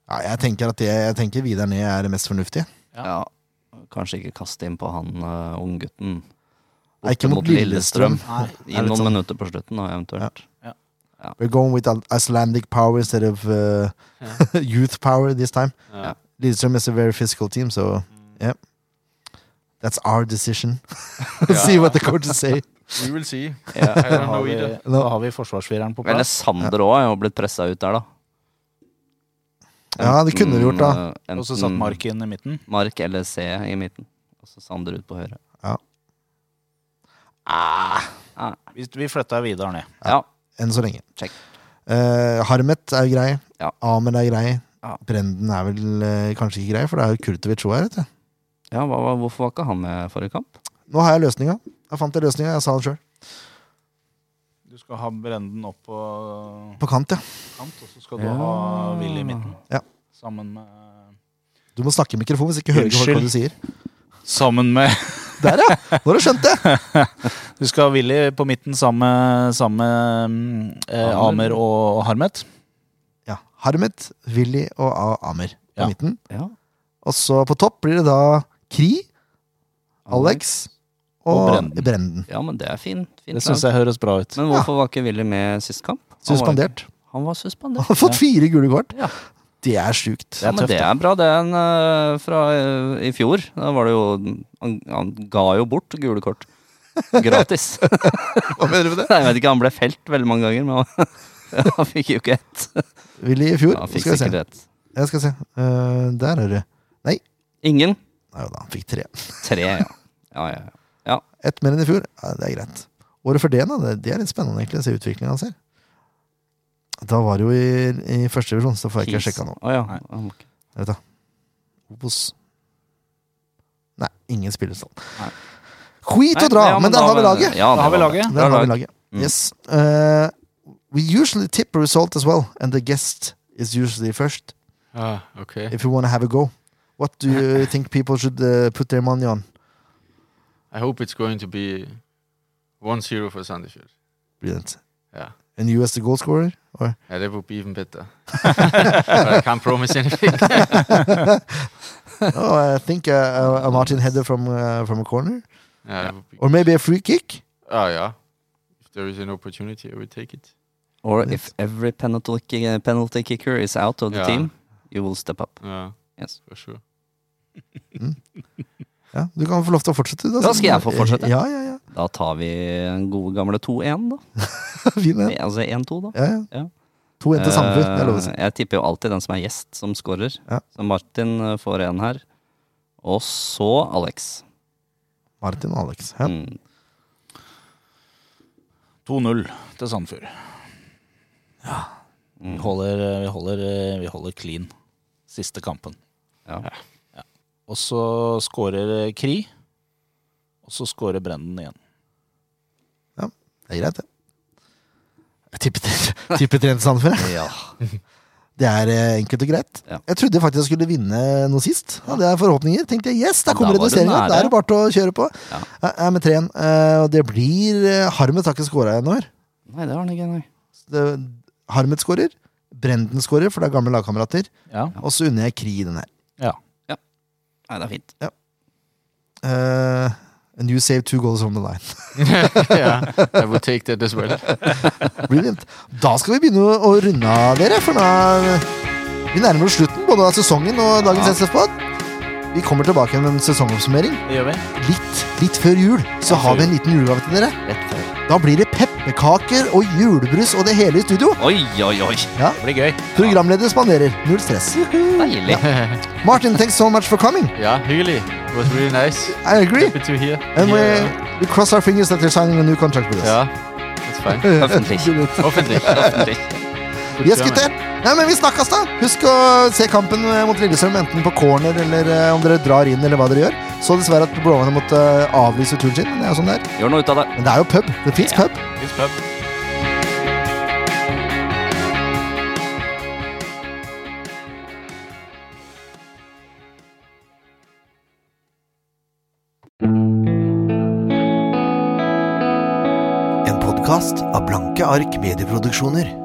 Ja, jeg tenker at det, jeg tenker Vidar Ned er det mest fornuftige.
ja. kanskje ikke kaste inn på han uh, unggutten.
Nei, ikke mot Lillestrøm.
Nei.
I
er litt
noen
sånn-
minutter på slutten, da, eventuelt.
We're going with Al- Icelandic power instead of uh, youth power this time.
Yeah.
Lillestrøm is a very physical team,
Mm.
so yeah. That's our decision.
Yeah.
See what the coaches say.
We will see.
Ja.
I
Da har
don't know
vi,
either.
No.
da har vi forsvarsfireren på
Eller
plass.
Sander òg er jo blitt pressa ut der, da.
Ja, det kunne du gjort, da.
Enten,
Og så satt Mark inn i midten.
Mark eller C i midten. Og så Sander ut på høyre. Ah.
Vi, vi flytta Vidar ned.
Ja.
Enn så lenge.
Check.
Eh, Harmet er grei.
Ja.
Ahmed er grei.
Ja.
Brenden er vel eh, kanskje ikke grei, for det er jo Kurtovic òg her. vet du.
ja hva, hva, hvorfor var ikke han med forrige kamp?
Nå har jeg løsninga. Jeg fant jeg løsninga. Jeg sa det sjøl.
Du skal ha Brenden opp på
På kant, ja.
kant, og så skal du
Ja.
ha Willy i midten.
Ja.
Sammen med
Du må snakke i mikrofonen, hvis ikke hører ikke folk hva du sier.
Sammen med
Der, ja! Nå har du skjønt det!
Du skal ha Willy på midten sammen med- sammen med mm, eh,
Amer.
Amer og Harmet.
Ja, Harmet, Willy og A- Amer på
Ja.
midten.
Ja.
Og så på topp blir det da Kri, Alex og,
Og
Brenden.
Brenden.
Ja, men det er fint. fint
Det syns
lag.
jeg høres bra ut.
Men hvorfor var ikke Willy med sist kamp? Han var-
Suspendert.
Han var
Han
suspendert.
har fått fire gule kort.
Ja.
Det er sjukt.
Det
Ja,
er
men
tøft,
det
da.
er bra. Det er en eh, fra eh, i fjor. Da var det jo han, han ga jo bort gule kort. Gratis.
Hva mener du med det?
Nei, jeg vet ikke, han ble felt veldig mange ganger, men han, han fikk jo ikke ett.
Willy i fjor.
Han fikk
skal vi se.
sikkert ett.
Jeg skal se. Eh, der er det.
Ingen.
Nei jo da, han fikk tre.
Tre, ja. Ja, ja, ja.
Ett mer enn i fjor. Ja, det er greit. Året for det, da, det, det er litt spennende egentlig, å se utviklingen hans her. Da var det jo i, i første divisjon, så får jeg ikke
Keys.
sjekka nå.
Å, ja.
Nei.
Han var ikke-
Vet du. Obos. Nei, ingen spillerstall.
Nei.
Skit
Nei,
og dra,
ja,
men der har vi laget!
Ja,
Da har vi
var
laget.
det.
Der har vi
lag.
laget.
Mm.
Yes. Eh, we usually tip a result as well, and the guest is usually first.
Ah, okay.
If you want to have a go, what do you think people should eh, put their money on?
I hope it's going to be 1-0 for Sandefjord.
Brilliant.
Yeah.
And you as the goal scorer? Or?
Yeah, that would be even better. but I can't promise anything.
oh, I think uh, a, a Martin header from uh, from a corner,
Yeah, that would be
or maybe a free kick.
Oh yeah. If there is an opportunity, I would take it.
Or if every penalty, ki- penalty kicker is out of the
Ja.
team, you will step up.
Yeah.
Yes.
For sure.
Ja, du kan få lov til å fortsette.
Da skal jeg få fortsette.
Ja, ja, ja.
Da tar vi den gode gamle 2-1, da.
Fin den.
Altså 1-2, da.
Ja, ja.
Ja.
To en til Sandefjord, det er lov å si.
Eh, Jeg tipper jo alltid den som er gjest, som scorer.
Ja.
Så Martin eh, får en her. Og så Alex.
Martin og Alex. Ja.
Mm.
2-0 til Sandefjord. Vi
Mm.
holder, eh, vi, holder, vi holder clean siste kampen.
Ja.
Og så skårer eh, Kri. Og så skårer Brenden igjen.
Det er greit, det. Jeg tippet, tippet rent Sandefjord. jeg. Det er eh, enkelt og greit.
Ja.
Jeg trodde faktisk jeg skulle vinne noe sist. Hadde jeg forhåpninger. Tenkte jeg, yes, der
Ja, da
kommer
var du
reduseringa.
nære.
Da er det bare til å kjøre på.
Ja.
Jeg er med treen. eh, Og det blir eh, Harmet har ikke skåra ennå. her.
Nei, det har han ikke. Nei.
Så det- Harmet skårer. Brenden skårer, for det er gamle lagkamerater.
Ja.
Og så unner jeg Kri den her.
Nei, det er fint.
Eh, and you save two goals on the line.
yeah, I would take that as well.
Brilliant. Da skal vi begynne å- å runde av dere, for nå vi nærmer oss slutten både av sesongen og dagens SF-pod. Vi kommer tilbake med en sesongoppsummering.
Det gjør vi.
Litt, litt før jul så har vi en liten julegave til dere.
Rett før.
Da blir det pepperkaker og julebrus og det hele i studio.
Oi, oi, oi.
Det blir gøy.
Programleder spanderer. Null stress.
Deilig.
Martin, thanks so much for coming.
yeah, really. It was really nice.
I agree.
Happy to hear.
And we,
yeah.
we cross our fingers that you're signing a new contract with us. Uh,
yeah, that's fine.
Offentlig.
Hoffentlich.
Offentlig.
Good
Yes,
German.
gutter. Nei, men vi snakkes, da. Husk å se kampen eh, mot Lillestrøm, enten på corner eller eh, om dere drar inn, eller hva dere gjør. Så dessverre at Blåvannet måtte eh, avlyse turen sin, men det er jo sånn det er.
Gjør noe ut av det.
Men det er jo pub. Det fins pub.
It's pub.
En podkast av Blanke ark medieproduksjoner.